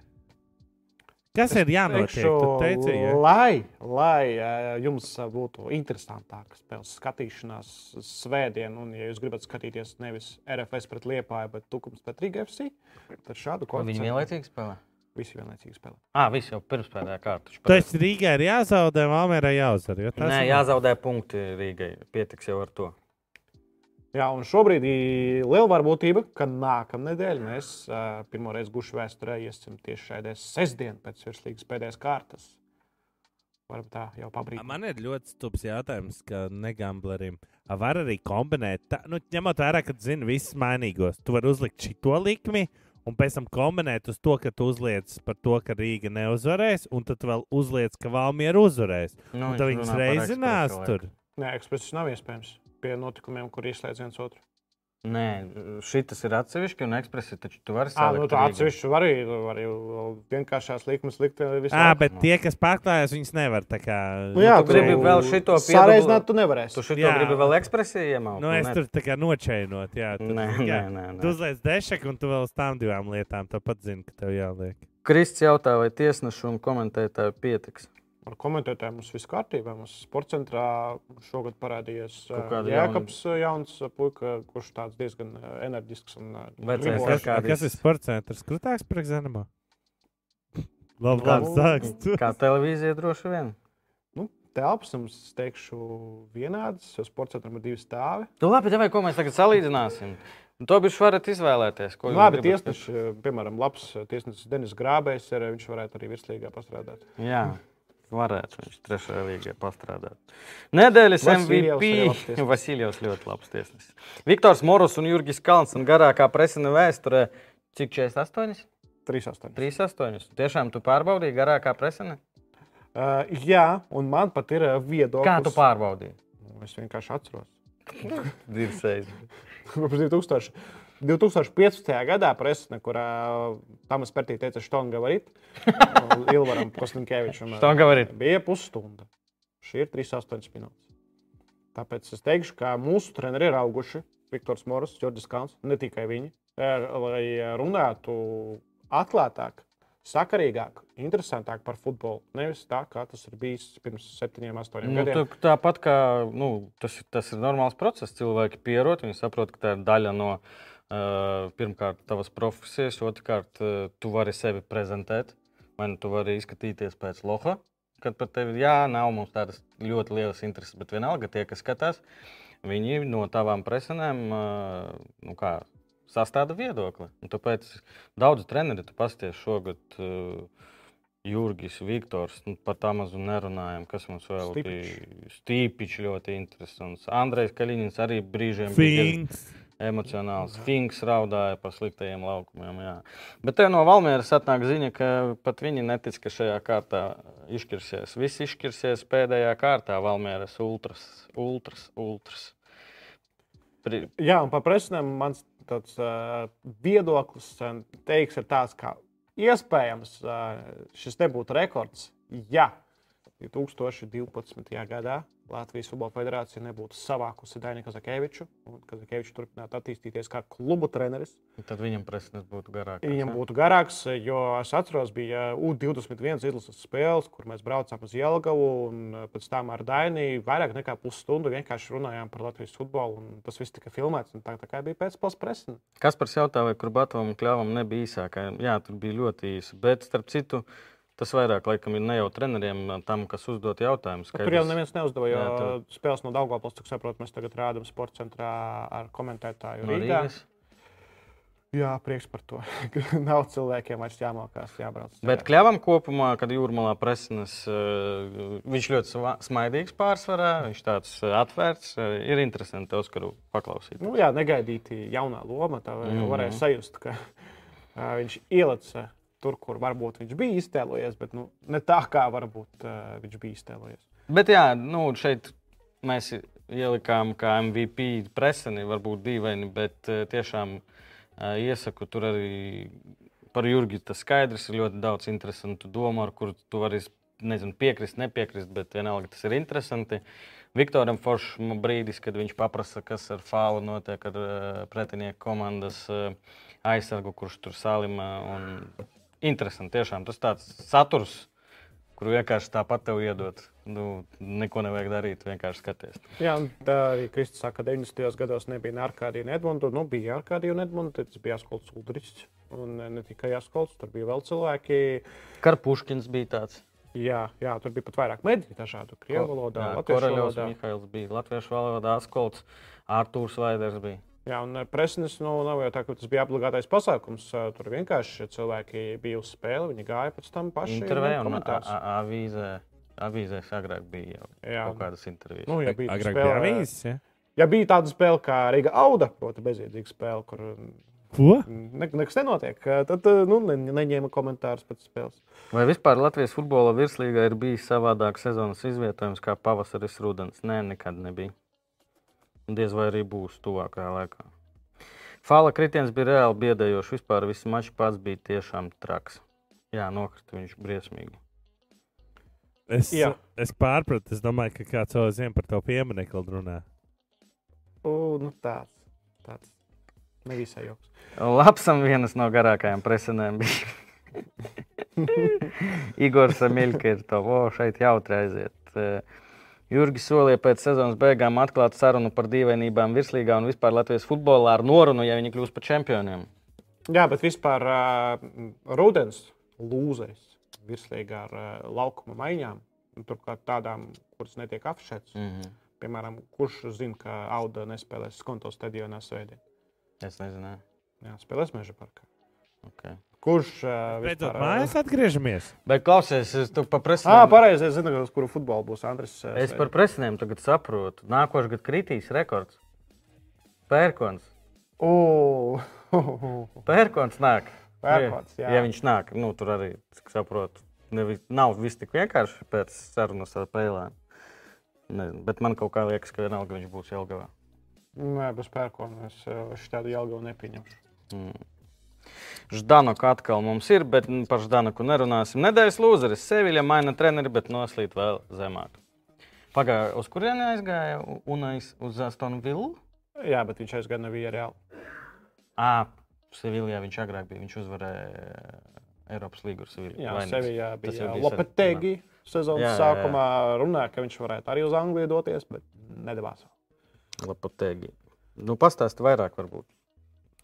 Speaker 3: Kas ir jānotiek?
Speaker 1: Teikšu,
Speaker 3: Tu teici, ja?
Speaker 1: lai, lai eh, jums eh, būtu interesantāka spēles skatīšanās svētdien, un ja jūs gribat skatīties nevis RFS pret Liepāju, bet Tukums pret Rīga FC, tad šādu
Speaker 2: Viņi vienlaicīgi spēlē.
Speaker 1: Visi vienlaicīgi spēlē.
Speaker 2: Ah, viss jau pirmspēdējā kārta.
Speaker 3: Tas Rīgai ir jāzaudē, Valmierai jāuzvar. jo tas
Speaker 2: Nē,
Speaker 3: ir-
Speaker 2: jāzaudē punkti Rīgai. Pietiks jau ar to.
Speaker 1: Jā, un šobrīd ir liela varbūtība, ka nākamā nedēļa mēs uh, pirmo reizi gušu vēsturē iesim tieši šai dienas sestdienai pēc virslīgas pēdējās kārtas. Varbūt tā jau pabeigta.
Speaker 3: Man ir ļoti stulbs jautājums, ka negamblerim A, var arī kombinēt. Tā, nu, ņemot vērā, ka zina visas mainīgos, tu vari uzlikt šo likmi. Un pēc tam kombinēt uz to, ka tu uzliec par to, ka Rīga neuzvarēs, un tad vēl uzliec, ka Valmiera uzvarēs.
Speaker 2: Nu,
Speaker 3: Un tad
Speaker 2: viņš runā
Speaker 3: viņas
Speaker 2: par
Speaker 3: reizinās
Speaker 2: ekspresu
Speaker 3: tur.
Speaker 2: laiku.
Speaker 1: Nē, ekspresis nav iespējams pie notikumiem, kur izslēdz viens otru.
Speaker 2: Nē, šitas ir atsevišķi, un ekspresi taču tu vari
Speaker 1: Jā,
Speaker 2: salikt.
Speaker 1: nu, tā
Speaker 2: Rīgai.
Speaker 1: atsevišķi var arī, var arī vēl vienkāršās likumus likt. visā
Speaker 3: Jā,
Speaker 1: laikā.
Speaker 3: bet tie, kas pārklājās, viņas nevar tā kā.
Speaker 1: nu, jā,
Speaker 2: tu gribi vēl šito
Speaker 1: Sārēzināt,
Speaker 2: piedabulēt.
Speaker 1: tu nevarēsi.
Speaker 2: Tu šito
Speaker 3: Jā.
Speaker 2: gribi vēl ekspresiju iemaut?
Speaker 3: Nu,
Speaker 2: Nu,
Speaker 3: es
Speaker 2: nē.
Speaker 3: tur tā kā nočēnot, jā. Tur,
Speaker 2: Nē,
Speaker 3: jā.
Speaker 2: nē, nē, nē.
Speaker 3: Tu uzliec dešaku, un tu vēl uz tām divām lietām. Tāpat zini, ka tev jāliek.
Speaker 2: Krists jautā, vai tiesnešu un komentētāju pietiks.
Speaker 1: Ar komentētājiem mums viss kārtībā. Mums sporta centrā šogad parādījās
Speaker 2: Kaut
Speaker 1: eh,
Speaker 2: kāda
Speaker 1: Jēkabs, jauna... jauns eh, puika, kurš tāds diezgan eh, enerģisks un eh,
Speaker 2: Vecais
Speaker 1: gribošs.
Speaker 2: Ar
Speaker 3: Kas,
Speaker 2: kādis-
Speaker 3: kas ir sports centrs? Krūtāks par eksāmenu. Labi,
Speaker 2: Kā-
Speaker 3: labi sāks.
Speaker 2: Kā televīzija droši vien.
Speaker 1: Nu, telpas mums, teikšu, vienādas, jo sporta centram ir divi stāvi.
Speaker 2: Nu, labi, vai ko mēs tagad salīdzināsim? Nu, To bišķi varat izvēlēties. Ko
Speaker 1: Nu,
Speaker 2: jūs
Speaker 1: labi,
Speaker 2: gribat.
Speaker 1: tiesneši, eh, piemēram, labs eh, tiesnesis Denis Grābējs, ir, eh, viņš varētu arī virslīgā pastrādāt.
Speaker 2: Jā, varētu viņš trešajā līgā pastrādāt. Nedēļas
Speaker 1: Vasiljevs arī labs
Speaker 2: MVP
Speaker 1: tiesnesis.
Speaker 2: Vasiljovs ļoti labs tiesnesis. Viktors Moros un Jurgis Kalns un garākā presina vēsturē. Cik 48?
Speaker 1: 3-8.
Speaker 2: 38. Tiešām tu pārbaudīji garākā presina?
Speaker 1: Uh, jā, un man pat ir eh, viedoklis. Nu,
Speaker 2: Kā tu pārbaudīji?
Speaker 1: Es vienkārši atceros.
Speaker 2: Dirsēji.
Speaker 1: Kopš 2000. 2015. gadā presne, kurā Tomas Pērtī teica, ka Štonga varit, Ilvaram Kostinkevičam eh,
Speaker 2: Tā gavarīt.
Speaker 1: bija pusstunda. Šī ir 3,8 minūtes. Tāpēc es teikšu, ka mūsu treneri ir auguši. Viktors Moras, Jordis Kalns, ne tikai viņi. Er, Lai runātu atklātāk, sakarīgāk, interesantāk par futbolu. Nevis tā, kā tas ir bijis pirms septiņiem, astoņiem
Speaker 2: Nu,
Speaker 1: gadiem.
Speaker 2: tā, tāpat kā nu, tas, ir- tas ir normāls process, cilvēki pierod, viņi saprot, ka tā ir daļa no uh, pirmkārt tavas profesijas, otrkārt uh, tu vari sevi prezentēt, vai nu tu vari izskatīties pēc loha, kad par tevi jā, nav mums tādas ļoti lielas intereses, bet vienalga tie, kas skatās, viņi no tavām presenēm uh, nu, kā, sastāda viedokli. Un tāpēc daudz treneri tu pasties šogad. Uh, Jurgis, Viktors, nu, par tā mazu nerunājam, kas mums vēl
Speaker 1: Stipičs.
Speaker 2: Stīpiņš ļoti interesants. Andrejs Kalniņš arī brīžiem bija diezgan
Speaker 3: Fings.
Speaker 2: emocionāls. Finks raudāja pa sliktajiem laukumiem. Jā. Bet te no Valmieras atnāk ziņa, ka pat viņi netic, ka šajā kārtā izšķirsies. Viss izšķirsies pēdējā kārtā Valmieras ultras, ultras, ultras. Pri...
Speaker 1: Jā, un par presnēm mans tāds, uh, viedoklis uh, teiks, ir tāds, ka iespējams uh, šis nebūtu rekords. Ja 2012. gadā Latvijas Futbola Federācija nebūtu savākusi Dainu Kazakēviču, un Kazakēvičs turpinātu attīstīties kā kluba treneris.
Speaker 2: Tad viņam prasnes būtu garāks.
Speaker 1: Viņam būtu garāks, jo es atceros, bija U21 izlases spēles, kur mēs braucām uz Jelgavu un eh, pēc tam ar Dainiju vairāk nekā pusstundu vienkārši runājām par Latvijas futbolu. un Tas viss tika filmēts, un tā, tā kā bija pēcspēles presne.
Speaker 2: Kas par jautājumu, vai Kurbatovam un Kļāvam nebija īsākā? Jā, tur bija ļoti īsa. Bet, starp citu, tas vairāk laikam ir ne jau treneriem, tam, kas uzdot jautājumus.
Speaker 1: Nu, Tur jau neviens neuzdeva, jo
Speaker 2: Jā,
Speaker 1: jā,
Speaker 2: tur-
Speaker 1: spēles no Daugopils, cik saprotu, mēs tagad rādām sporta centrā ar komentētāju.
Speaker 2: no
Speaker 1: Rīgā.
Speaker 2: Rīgas.
Speaker 1: Jā, prieks par to. Nav cilvēkiem vairs jāmokās, jābrauc.
Speaker 2: Bet Kļāvam kopumā, kad jūrmalā prasinas, viņš ļoti sva- smaidīgs pārsvarā, viņš tāds eh, atvērts. eh, Ir interesanti Oskaru paklausīt.
Speaker 1: nu, jā, negaidīti jaunā loma. Tā mm -hmm.
Speaker 2: Mhm.
Speaker 1: varēja sajust, ka uh, viņš ielica tur, kur varbūt viņš bija iztēlojies, bet nu, ne tā, kā varbūt uh, viņš bija iztēlojies.
Speaker 2: Bet jā, nu, šeit mēs i- ielikām kā MVP preseni, varbūt dīvaini, bet eh, tiešām eh, iesaku tur arī par Jurgi. Tas skaidrs ir ļoti daudz interesantu domu, ar kuru tu vari s- nezinu, piekrist, nepiekrist, bet vienalga tas ir interesanti. Viktoram Foršam brīdis, kad viņš paprasa, kas ar fālu notiek ar eh, pretinieku komandas eh, aizsargu, kurš tur salimā. un Interesanti, tiešām tas tāds saturs, kur vienkārši tāpat tev iedod. Nu, neko nevajag darīt, vienkārši skaties.
Speaker 1: Jā, un tā arī Kristus saka, ka 90. gados nebija ne Arkādija, ne Edmunds. Nu, bija Arkādija un Edmunds, tad bija Jāskolts Udrišs. Un eh, ne tikai Jāskolts, tur bija vēl cilvēki.
Speaker 2: Karpuškins bija tāds.
Speaker 1: Jā, jā tur bija pat vairāk mediju dažādu, krievu valodā, latviešu
Speaker 2: Korāļovs
Speaker 1: valodā.
Speaker 2: Mihails bija Latviešu valodā, Askolts, Artūrs Vaiders bija.
Speaker 1: Jā, un eh, presnes nu, nav jau tā, ka tas bija obligātais pasākums. Eh, Tur vienkārši cilvēki bija uz spēli, viņi gāja pēc tam paši. nu, un
Speaker 2: Intervijā un
Speaker 1: komentēja.
Speaker 2: a- a- avīzē. Avīzēs agrāk bija jau
Speaker 1: Jā.
Speaker 2: kaut kādas intervijas.
Speaker 1: Nu, ja, bija spēle,
Speaker 3: Agrāk bija avīzes. Ja?
Speaker 1: ja bija tāda spēle kā Riga Auda, proti, bezjēdzīga spēle, kur mm,
Speaker 3: Ko?
Speaker 1: ne, nekas nenotiek, tad eh, nu, ne, neņēma komentārus pēc spēles.
Speaker 2: Vai vispār Latvijas futbola virslīgā ir bijis savādāk sezonas izvietojums kā pavasaris, rudens? Nē, nekad nebija. Un Diez vai arī būs tuvākajā laikā. Fāla kritiens bija reāli biedējošs. Vispār viss mačs pats bija tiešām traks. Jā, nokrita viņš briesmīgi.
Speaker 3: Es,
Speaker 1: Jā.
Speaker 3: es pārpratu, es domāju, ka kāds jau zina par to pieminiektu runā.
Speaker 1: U, nu, tāds, tāds. Nevisai jauks.
Speaker 2: Lapsam vienas no garākajām presenēm bija. Igor Samilka ir to, o, šeit jautri aiziet. Eh, Jurgis solīja pēc sezonas beigām atklāt sarunu par dīvainībām virslīgā un vispār Latvijas futbolā ar norunu, ja viņi kļūs par čempioniem.
Speaker 1: Jā, bet vispār uh, rudens lūzēs virslīgā ar uh, laukuma maiņām, un turklāt tādām, kuras netiek apšēts.
Speaker 2: Mm -hmm.
Speaker 1: Piemēram, kurš zina, ka Auda nespēlēs skonto stadionā svētdien?
Speaker 2: Es nezinu.
Speaker 1: Jā, spēlēs meža parkā.
Speaker 2: Okay.
Speaker 1: Kurš uh,
Speaker 3: Beidzot, mājās atgriežamies.
Speaker 2: Bet klausies, es tev par presinēm.
Speaker 1: Jā, Ah, pareizi. Es zinu, uz kuru futbolu būs Andris. uh,
Speaker 2: Es
Speaker 1: svētdien.
Speaker 2: par presinēm tagad saprotu. Nākošais gads kritīs rekords. Pērkons.
Speaker 1: O,
Speaker 2: Pērkons nāk.
Speaker 1: Pērkons, jā.
Speaker 2: ja, ja viņš nāk, nu, tur arī cik saprotu. Nevi, nav viss tik vienkārši pēc sarunas ar Pēlēm. Nezinu, bet man kaut kā liekas, ka vienalga viņš būs Jelgavā.
Speaker 1: Nē, bez pērkona es uh, šādu jēlu nepieņemšu.
Speaker 2: Mm. Ždanoka atkal mums ir, bet nu, par Ždanoku nerunāsim. Nedēļas lūzeris Seviļa maina treneri, bet noslīd vēl zemāk. Pagājušajā, uz kurieni aizgāja U- Unais uz Astonu Villu?
Speaker 1: Jā, bet viņš aizgāja no Vīrēla.
Speaker 2: À, Sevilijā viņš agrāk bija, viņš uzvarēja eh, Eiropas līgu ar Seviliju.
Speaker 1: Jā,
Speaker 2: Vainīgs.
Speaker 1: Sevijā
Speaker 2: Tas jau
Speaker 1: bija
Speaker 2: sen-
Speaker 1: Lopetegi. Sezonas jā,
Speaker 2: Jā, jā, jā.
Speaker 1: sākumā runāja, ka viņš varētu arī uz Angliju doties, bet nedavās.
Speaker 2: Lapotēgi. Nu, Pastāsti vairāk, varbūt.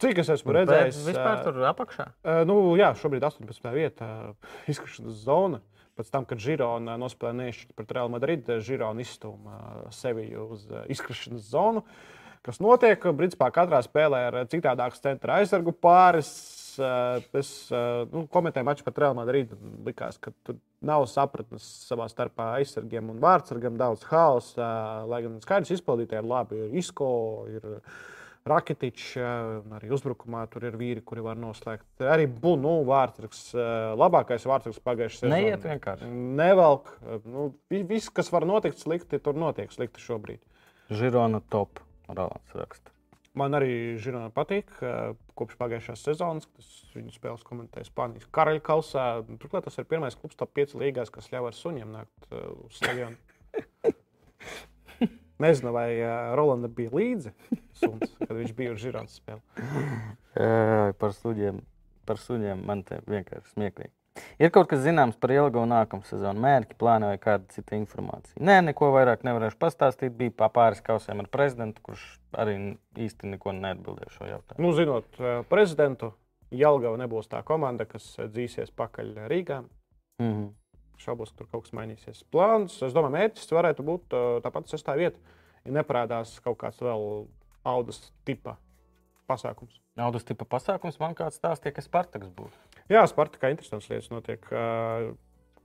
Speaker 1: Cik es esmu redzējis?
Speaker 2: Nu, vispār
Speaker 1: ā,
Speaker 2: tur apakšā.
Speaker 1: ā, Nu, jā, šobrīd 18. vietā izkrišanas zona. Pēc tam, kad Girona nospēlēja nešķiet pret Real Madrid, Girona izstūma sevi uz ā, izkrišanas zonu. Kas notiek? Principā katrā spēlē ir citādāks centra aizsargu pāris. ā, Es ā, nu, komentēju maču pret Real Madrid. un Likās, ka tur nav sapratnes savā starpā aizsargiem un vārdsargiem. Daudz haosa, eh, lai gan skaidrs izpildītāji ir labi. Ir Isko, ir Raketičs, un arī uzbrukumā tur ir vīri, kuri var noslēgt. Arī Bunu vārdsargs, ā, labākais vārdsargs pagājušajā sezonā.
Speaker 2: Neiet vienkārši.
Speaker 1: Nevelk. Nu, vi- viss, kas var notikt slikti, tur notiek slikti šobrīd.
Speaker 2: Žirona top. Rolands raksta.
Speaker 1: Man arī Žirona patīk, eh, kopš pagājušās sezonas, kad es viņu spēles komentēju Spānijas karaļkausā. Turklāt uh, tas ir pirmais klubs top 5 līgās, kas ļauj ar suņiem nākt eh, uz stadionu. Nezinu, vai uh, Rolanda bija līdzi, suns, kad viņš bija uz žirāta spēlē.
Speaker 2: Ē, Par suņiem, par suņiem man te vienkārši smieklīgi. Ir kaut kas zināms par ilgu un nākamu sezonu mērķi, plānu vai kāda cita informācija. Nē, neko vairāk nevarēšu pastāstīt. Bija pa pāris kausiem ar prezidentu, kurš arī n- īsti neko neatbildēja šo jautājumu.
Speaker 1: Nu, zinot eh, prezidentu, Jālgava nebūs tā komanda, kas eh, dzīsies pakaļ Rīgā.
Speaker 2: Mm -hmm.
Speaker 1: Šaubos, ka tur kaut kas mainīsies. Plāns, es domāju, mērķis varētu būt eh, tāpat sestā vieta, ja neparādās kaut kāds vēl audas tipa pasākums.
Speaker 2: Naudas tipa pasākums man kāds stāstīja, ka Spartaks būs.
Speaker 1: Jā, Spartakā interesants lietas notiek. Eh,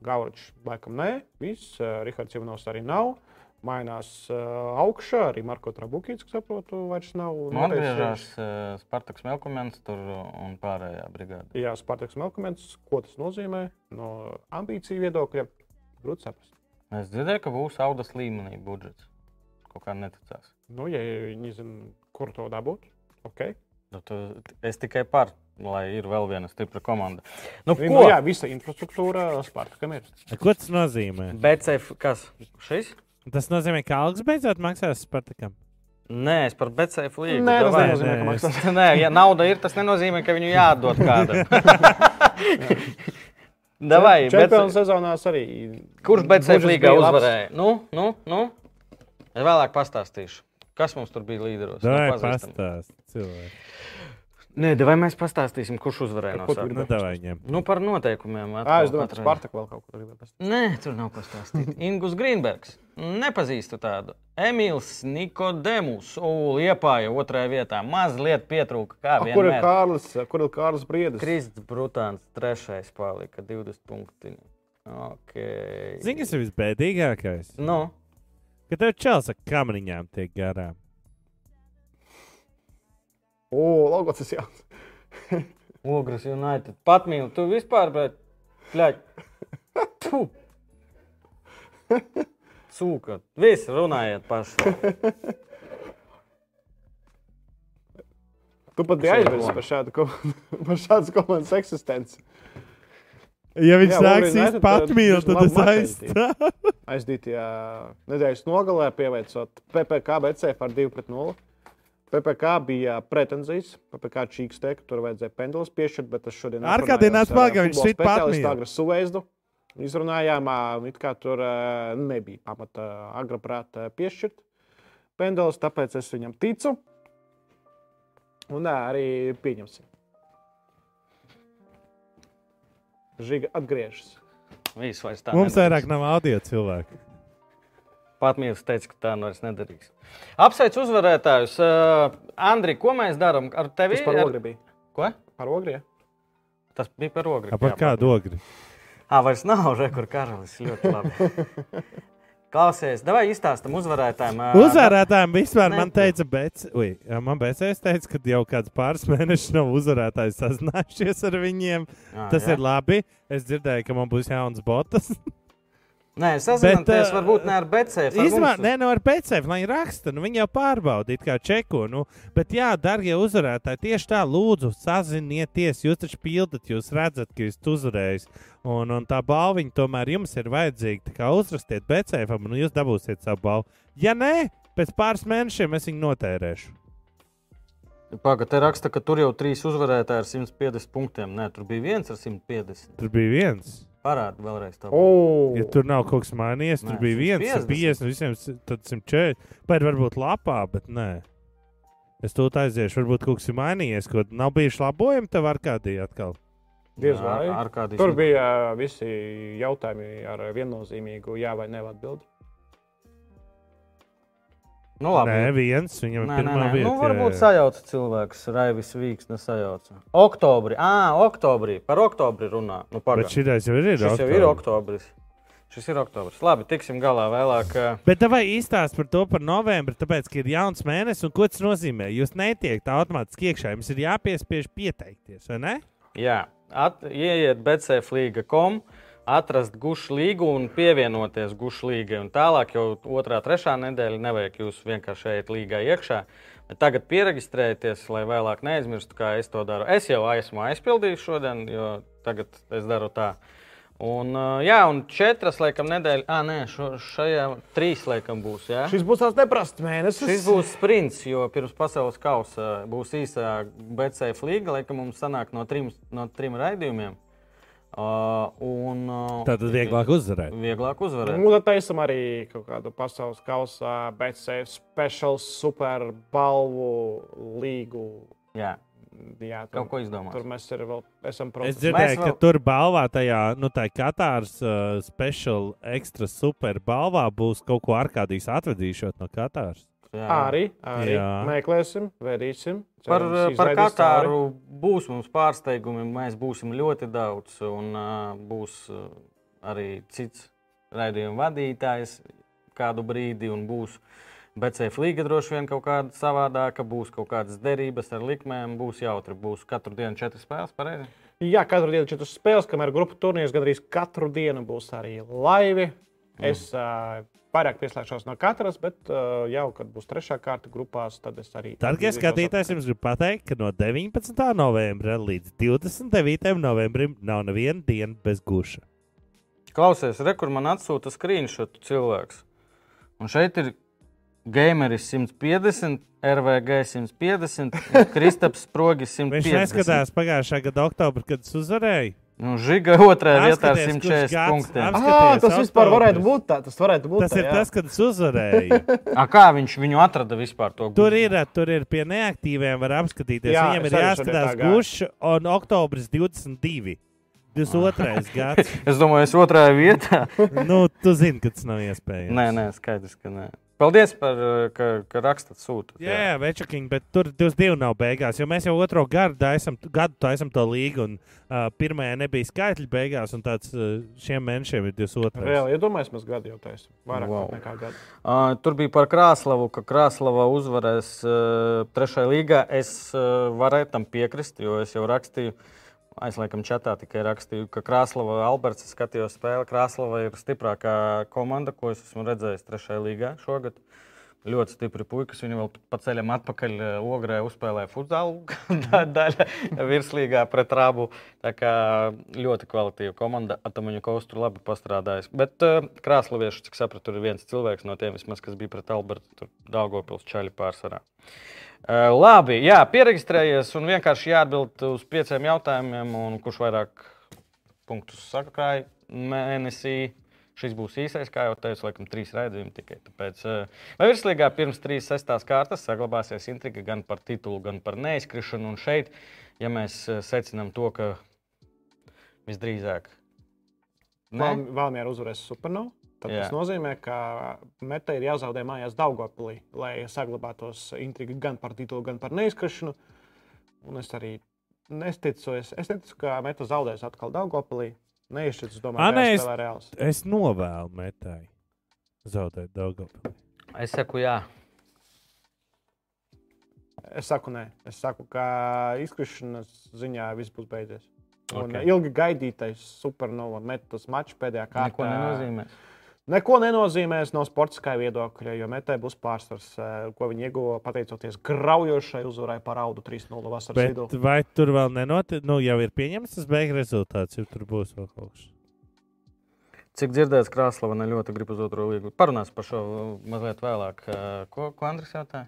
Speaker 1: Gaurčs laikam nē, viss. eh, Rihards Javanovs arī nav. Mainās eh, augšā, arī Marko Trabukīts, kas saprotu, vairs nav.
Speaker 2: Man
Speaker 1: Noteicis-
Speaker 2: Nu, atgriežas uh, Spartaks Melkumens tur un pārējā brigāde.
Speaker 1: Jā, Spartaks Melkumens, ko tas nozīmē no ambīciju viedokļa, grūti saprast.
Speaker 2: Es dzirdēju, ka būs audas līmenī budžets. Kaut kā neticās.
Speaker 1: Nu, ja viņi zina, kur to dabūt, ok.
Speaker 2: Nu, tu- Es tikai par, lai ir vēl viena stipra komanda. Nu,
Speaker 1: Nu,
Speaker 2: ko?
Speaker 1: jā, visa infrastruktūra Spartakam ir.
Speaker 3: Ko tas nozīmē?
Speaker 2: BCF, kas šis?
Speaker 3: Tas nozīmē, ka algas beidzot maksās Spartakam.
Speaker 2: Nē, es par BCF līniju.
Speaker 1: Nē, nu, tas
Speaker 3: davai,
Speaker 1: nenozīmē,
Speaker 3: nē,
Speaker 1: ka
Speaker 3: es-
Speaker 1: maksās.
Speaker 2: Nē, ja nauda ir, tas nenozīmē, ka viņu jāatdod kādam. Davai,
Speaker 1: Čempionu
Speaker 2: bet,
Speaker 1: sezonās arī.
Speaker 2: kurš BCF
Speaker 1: budžets
Speaker 2: līgā
Speaker 1: bija labs.
Speaker 2: uzvarēja? Nu, nu, nu. Es vēlāk pastāstīšu. Kas mums tur bija līderos? Nu,
Speaker 3: Davai,
Speaker 2: pazīstam.
Speaker 3: pastāst, cilvēki.
Speaker 2: Nē, vai mēs pastāstīsim, kurš uzvarēja no
Speaker 1: Ko tu
Speaker 2: sākuma?
Speaker 1: gribi?
Speaker 3: Nu, davai viņiem.
Speaker 2: Nu, par noteikumiem.
Speaker 1: Jā,
Speaker 2: atkal
Speaker 1: es domāju, ka
Speaker 2: katrai.
Speaker 1: Spartak vēl kaut ko gribēja pateikt.
Speaker 2: Nē, tur nav pastāstīts. Ingus Grīmbergs. Nepazīstu tādu. Emīls Nikodemus. Liepāja otrajā vietā. Mazliet pietrūka. Kā
Speaker 1: A, Kur ir
Speaker 2: vienmēr.
Speaker 1: Kārlis? Kur ir Kārlis Briedis?
Speaker 2: Krists Brutāns trešais palika 20 punktiņi. Okay.
Speaker 3: Zini, kas ir visbēdīgākais?
Speaker 2: Nu,
Speaker 3: Ka tev čels ar kamariņām tiek garām.
Speaker 1: O, logots ir jauns.
Speaker 2: Ogres United. Pat mīlu, tu vispār, bet. Kļaļ. Tu. Cūka. Visi runājiet paši.
Speaker 1: Tu pat biji aizmirsis par šādu komandu, par šādas komandas eksistenci.
Speaker 3: Ja viņš
Speaker 1: Jā, Wolverine
Speaker 3: sāks
Speaker 1: United,
Speaker 3: īstenībā pat
Speaker 1: tad
Speaker 3: mīlēt, tad
Speaker 1: diezgan
Speaker 3: es
Speaker 1: labi
Speaker 3: aizstāvu.
Speaker 1: Aizdītajā nedēļas nogalē pieveicot PPC BCF ar 2-0. PPC bija pretenzijas, PPC čīkstē, ka tur vajadzēja pendulas piešķirt, bet tas šodien
Speaker 3: Ar kādiem atspēlēm viņš šit patmīl?
Speaker 1: agra suveizdu. Izrunājām, ā, it kā tur ā, nebija pamata agra prāta piešķirt pendulas, tāpēc es viņam ticu. Un ā, arī pieņemsim. Žiga atgriežas.
Speaker 2: Viss vairs tā. Nu,
Speaker 3: Mums
Speaker 2: nedarīs.
Speaker 3: vairāk nav audio cilvēku.
Speaker 2: Patmīlis teica, ka tā nu vairs nedarīs. Apsveic uzvarētājus. Uh, Andri, ko mēs darām ar tevi?
Speaker 1: Tas par
Speaker 2: Ar-
Speaker 1: ogri bija.
Speaker 2: Ko?
Speaker 1: Par ogri? ja?
Speaker 2: Tas bija par ogri.
Speaker 3: Ap Par kādu ogri?
Speaker 2: Tā vairs nav rekords karalis. Ļoti labi. Klausies, vai izstāstam uzvarētājiem? eh, ā,
Speaker 3: Uzvarētājiem vispār
Speaker 2: Nē.
Speaker 3: man teica, bet, ui, man beigās teica, ka jau kāds pāris mēnešus nav uzvarētājs sazinājušies ar viņiem.
Speaker 2: Ā,
Speaker 3: Tas
Speaker 2: jā.
Speaker 3: ir labi. Es dzirdēju, ka man būs jauns botas.
Speaker 2: Nē, sazināties
Speaker 3: Bet, ā,
Speaker 2: varbūt ne ar BCF. ar
Speaker 3: Izmā,
Speaker 2: mums.
Speaker 3: nē, no ar PCF, lai raksta, nu viņi jau pārbaudīja, kā čeko. Nu, bet, jā, darbie uzvarētāji, tieši tā, lūdzu, sazinieties. Jūs taču pildat, jūs redzat, ka jūs uzvarējat. Un, un tā balviņa tomēr jums ir vajadzīga. Tā kā uzrastiet PCF, un jūs dabūsiet savu balvu. Ja nē, pēc pāris mēnešiem es viņu notērēšu.
Speaker 2: Paga, te raksta, ka tur jau trīs uzvarētāji ar 150 punktiem. Nē, tur bija viens ar 150.
Speaker 3: Tur bija viens.
Speaker 2: Parādi vēlreiz. Tā.
Speaker 1: Oh.
Speaker 3: Ja tur nav kaut kas mainījies,
Speaker 2: Nē,
Speaker 3: tur bija viens,
Speaker 2: 150.
Speaker 3: 150, visiem si- tad 140. Pēc tam varbūt lapā, bet nē. Es to aiziešu, varbūt kaut kas ir mainījies, kaut nav bijuši labojumi tev ar kādiem atkal.
Speaker 1: Diez
Speaker 2: Ar-
Speaker 1: vai.
Speaker 2: ar kādiem
Speaker 1: Tur bija visi jautājumi ar viennozīmīgu jā vai nē atbildi.
Speaker 2: Nu, labi,
Speaker 3: Nē, viens, viņam ir
Speaker 2: Nē, nē,
Speaker 3: pirmā
Speaker 2: nē.
Speaker 3: vieta.
Speaker 2: nu,
Speaker 3: jā,
Speaker 2: varbūt
Speaker 3: jā.
Speaker 2: sajauca cilvēks, Raivis Vīgs nesajauca. Oktobrī, ah, oktobrī, par oktobri runā. Nu,
Speaker 3: Bet
Speaker 2: pagaid.
Speaker 3: šī jau ir.
Speaker 2: šis jau ir oktobris. Šis ir oktobris. Labi, tiksim galā vēlāk. eh,
Speaker 3: Bet tev jāizstāsta par to par novembri, tāpēc, ka ir jauns mēnesis, un ko tas nozīmē? Jūs netiekat automātiski iekšā, jums ir jāpiespiež pieteikties, vai ne?
Speaker 2: Jā, at, ieiet bcflīga.com, atrast gušu līgu un pievienoties gušu līgai. Un Tālāk jau otrā, trešā nedēļa nevajag jūs vienkārši iet līgā iekšā. Bet tagad pierakstējieties, lai vēlāk neaizmirstu, kā es to daru. Es jau esmu aizpildījis šodien, jo tagad es daru tā. Un, uh, jā, un četras, laikam, nedēļas. Ah, nē, šo, šajā trīs, laikam, būs. Jā.
Speaker 1: Šis būs tāds neprasts mēnesis.
Speaker 2: Šis būs sprints, jo pirms pasaules kausa būs īsā BCF līga, laikam mums sanāk no trim, no trim raidījumiem. Uh, un, uh,
Speaker 3: Tā tad vieglāk uzvarēt.
Speaker 2: Vieglāk uzvarēt.
Speaker 1: Nu, tad taisam arī kaut kādu pasaules kausa, bet sevi speciālu superbalvu līgu.
Speaker 2: Jā,
Speaker 1: Jā, tur,
Speaker 2: kaut ko izdomāt.
Speaker 1: tur mēs arī vēl esam
Speaker 3: Es
Speaker 1: procesā.
Speaker 3: dzirdēju,
Speaker 2: Mēs
Speaker 3: vēl...
Speaker 2: vēl-
Speaker 3: ka tur balvā, tajā nu, tā Katāras uh, special, ekstra super balvā būs kaut ko ārkārtīgi atvedīšot no Katāras.
Speaker 2: Jā.
Speaker 1: Arī, arī
Speaker 3: Jā.
Speaker 1: meklēsim, vērīsim.
Speaker 2: Par,
Speaker 1: Cerams,
Speaker 2: par
Speaker 1: izlaidīs
Speaker 2: Katāru būs mums pārsteigumi. Mēs būsim ļoti daudz, un uh, būs uh, arī cits raidījuma vadītājs kādu brīdi, un būs BCF līga droši vien kaut kāda savādāka, būs kaut kādas derības ar likmēm, būs jautri. Būs katru dienu četras spēles, pareizi?
Speaker 1: cauri. Jā, katru dienu četras spēles, kamēr grupu turnīrs gandrīz katru dienu būs arī laivi. Es
Speaker 3: Mhm.
Speaker 1: mm. pārāk pieslēgšos no katras, bet ā, jau, kad būs trešā kārta grupās, tad es arī.
Speaker 3: Darbie
Speaker 1: atgriezīšos
Speaker 3: skatītāji,
Speaker 1: atpakaļ.
Speaker 3: jums gribu pateikt, ka no 19. novembra līdz 29. novembrim nav neviena diena bez guša.
Speaker 2: Klausies, re, kur man atsūta screenshot cilvēks. Un šeit ir gameris 150, RVG 150, un Kristaps Sprogis 150.
Speaker 3: Viņš neskatās pagājušā gada oktobrī, kad es uzvarēju.
Speaker 2: Nu, Žiga otrā vietā ar
Speaker 3: Apskaties, kurš
Speaker 2: 140
Speaker 3: gads,
Speaker 2: punktiem.
Speaker 3: apskaties.
Speaker 1: Ā, tas
Speaker 3: Skaties,
Speaker 1: vispār varētu
Speaker 3: autobus.
Speaker 1: būt tā. Tas varētu būt
Speaker 3: Tas
Speaker 1: Nu, tā,
Speaker 3: ir
Speaker 1: jā.
Speaker 3: tas, kad es uzvarēju.
Speaker 2: A, kā viņš viņu atrada vispār? To guļu?
Speaker 3: Tur ir, tur ir pie neaktīviem, var apskatīties. Jā,
Speaker 1: Jā,
Speaker 3: Viņam
Speaker 1: es
Speaker 3: ir
Speaker 1: arī šodien
Speaker 3: jāskatās
Speaker 1: tā gāju.
Speaker 3: gušs un oktobris 22. 22. gads.
Speaker 2: Es domāju, es otrā vietā.
Speaker 3: Nu, tu zini, ka tas nav iespējams.
Speaker 2: nē, nē, skaidrs, ka nē. Paldies, par, uh, ka, ka rakstat, sūtat.
Speaker 3: Jā, jā večakiņ, bet tur 22 nav beigās, jo mēs jau otro garu taisam, gadu taisam to līgu, un uh, pirmajā nebija skaitļi beigās, un tāds uh, šiem mēnešiem ir 22.
Speaker 1: Reāli iedomājamies, mēs gadu jau taisām. Vairāk
Speaker 2: Wow.
Speaker 1: wow. nekā gadu.
Speaker 2: Uh, tur bija par Krāslavu, ka Krāslava uzvarēs uh, trešajā līgā. Es uh, varēju tam piekrist, jo es jau rakstīju, aizliekam, čatā tikai rakstīju, ka Krāslava, Alberts, es skatījos spēli. Krāslava ir stiprākā komanda, ko es esmu redzējis trešajā līgā šogad. Ļoti stipri puikas. Viņi vēl pa ceļam atpakaļ eh, ogrē uzspēlēja futbolu, da- daļa virslīgā pret rābu. Tā kā ļoti kvalitatīva komanda. Atamaņakovs tur labi pastrādājis. Bet eh, krāslaviešu, cik sapratu, tur ir viens cilvēks no tiem, vismaz, kas bija pret Albertu, tur Daugopils čaļi pārsvarā. Eh, Labi, jā, pierakstējies un vienkārši jāatbild uz pieciem jautājumiem, un kurš vairāk punktus sakrāja mēnesī. Šis būs īsais, kā jau teicu, laikam, trīs raidījumi tikai. Tāpēc, eh, vai virslīgā pirms trīs sestās kārtas saglabāsies intriga gan par titulu, gan par neizkrišanu? Un šeit, ja mēs eh, secinām to, ka visdrīzāk. Nē?
Speaker 1: Vēlamies uzvarēt supernovu. Tad
Speaker 2: Jā.
Speaker 1: tas nozīmē, ka metai ir jāzaudē mājās Daugopilī, lai saglabātos intriga gan par titulu, gan par neizkrišanu. Un es arī nesticu, es, es neticu, ka meta zaudēs atkal Daugopilī. Neizšķirts,
Speaker 3: Ā,
Speaker 1: domāju,
Speaker 3: nē,
Speaker 1: ka
Speaker 3: es-
Speaker 1: tas ir reāls.
Speaker 3: Es novēlu metai zaudēt Daugavpili.
Speaker 2: Es saku, jā.
Speaker 1: Es saku, nē, es saku, ka izkrišanas ziņā viss būs beidzies. Un
Speaker 2: Ok.
Speaker 1: okay. ilgi gaidītais supernovā metas mačs pēdējā kārtā.
Speaker 2: Neko nenozīmē.
Speaker 1: Neko nenozīmēs no sportiskā viedokļa, jo metē būs pārsvars, eh, ko viņi ieguva pateicoties graujošai uzvarai par audu 3-0 vasaras Bet...
Speaker 3: Bet
Speaker 1: vidū.
Speaker 3: vai tur vēl nenotiek, nu jau ir pieņemts tas beigas rezultāts, ja tur būs vēl kaut kas?
Speaker 2: Cik dzirdēts, Krāslava ne ļoti grib uz otro līgu. Parunās par šo eh, mazliet vēlāk. Eh, Ko, ko Andris jautā?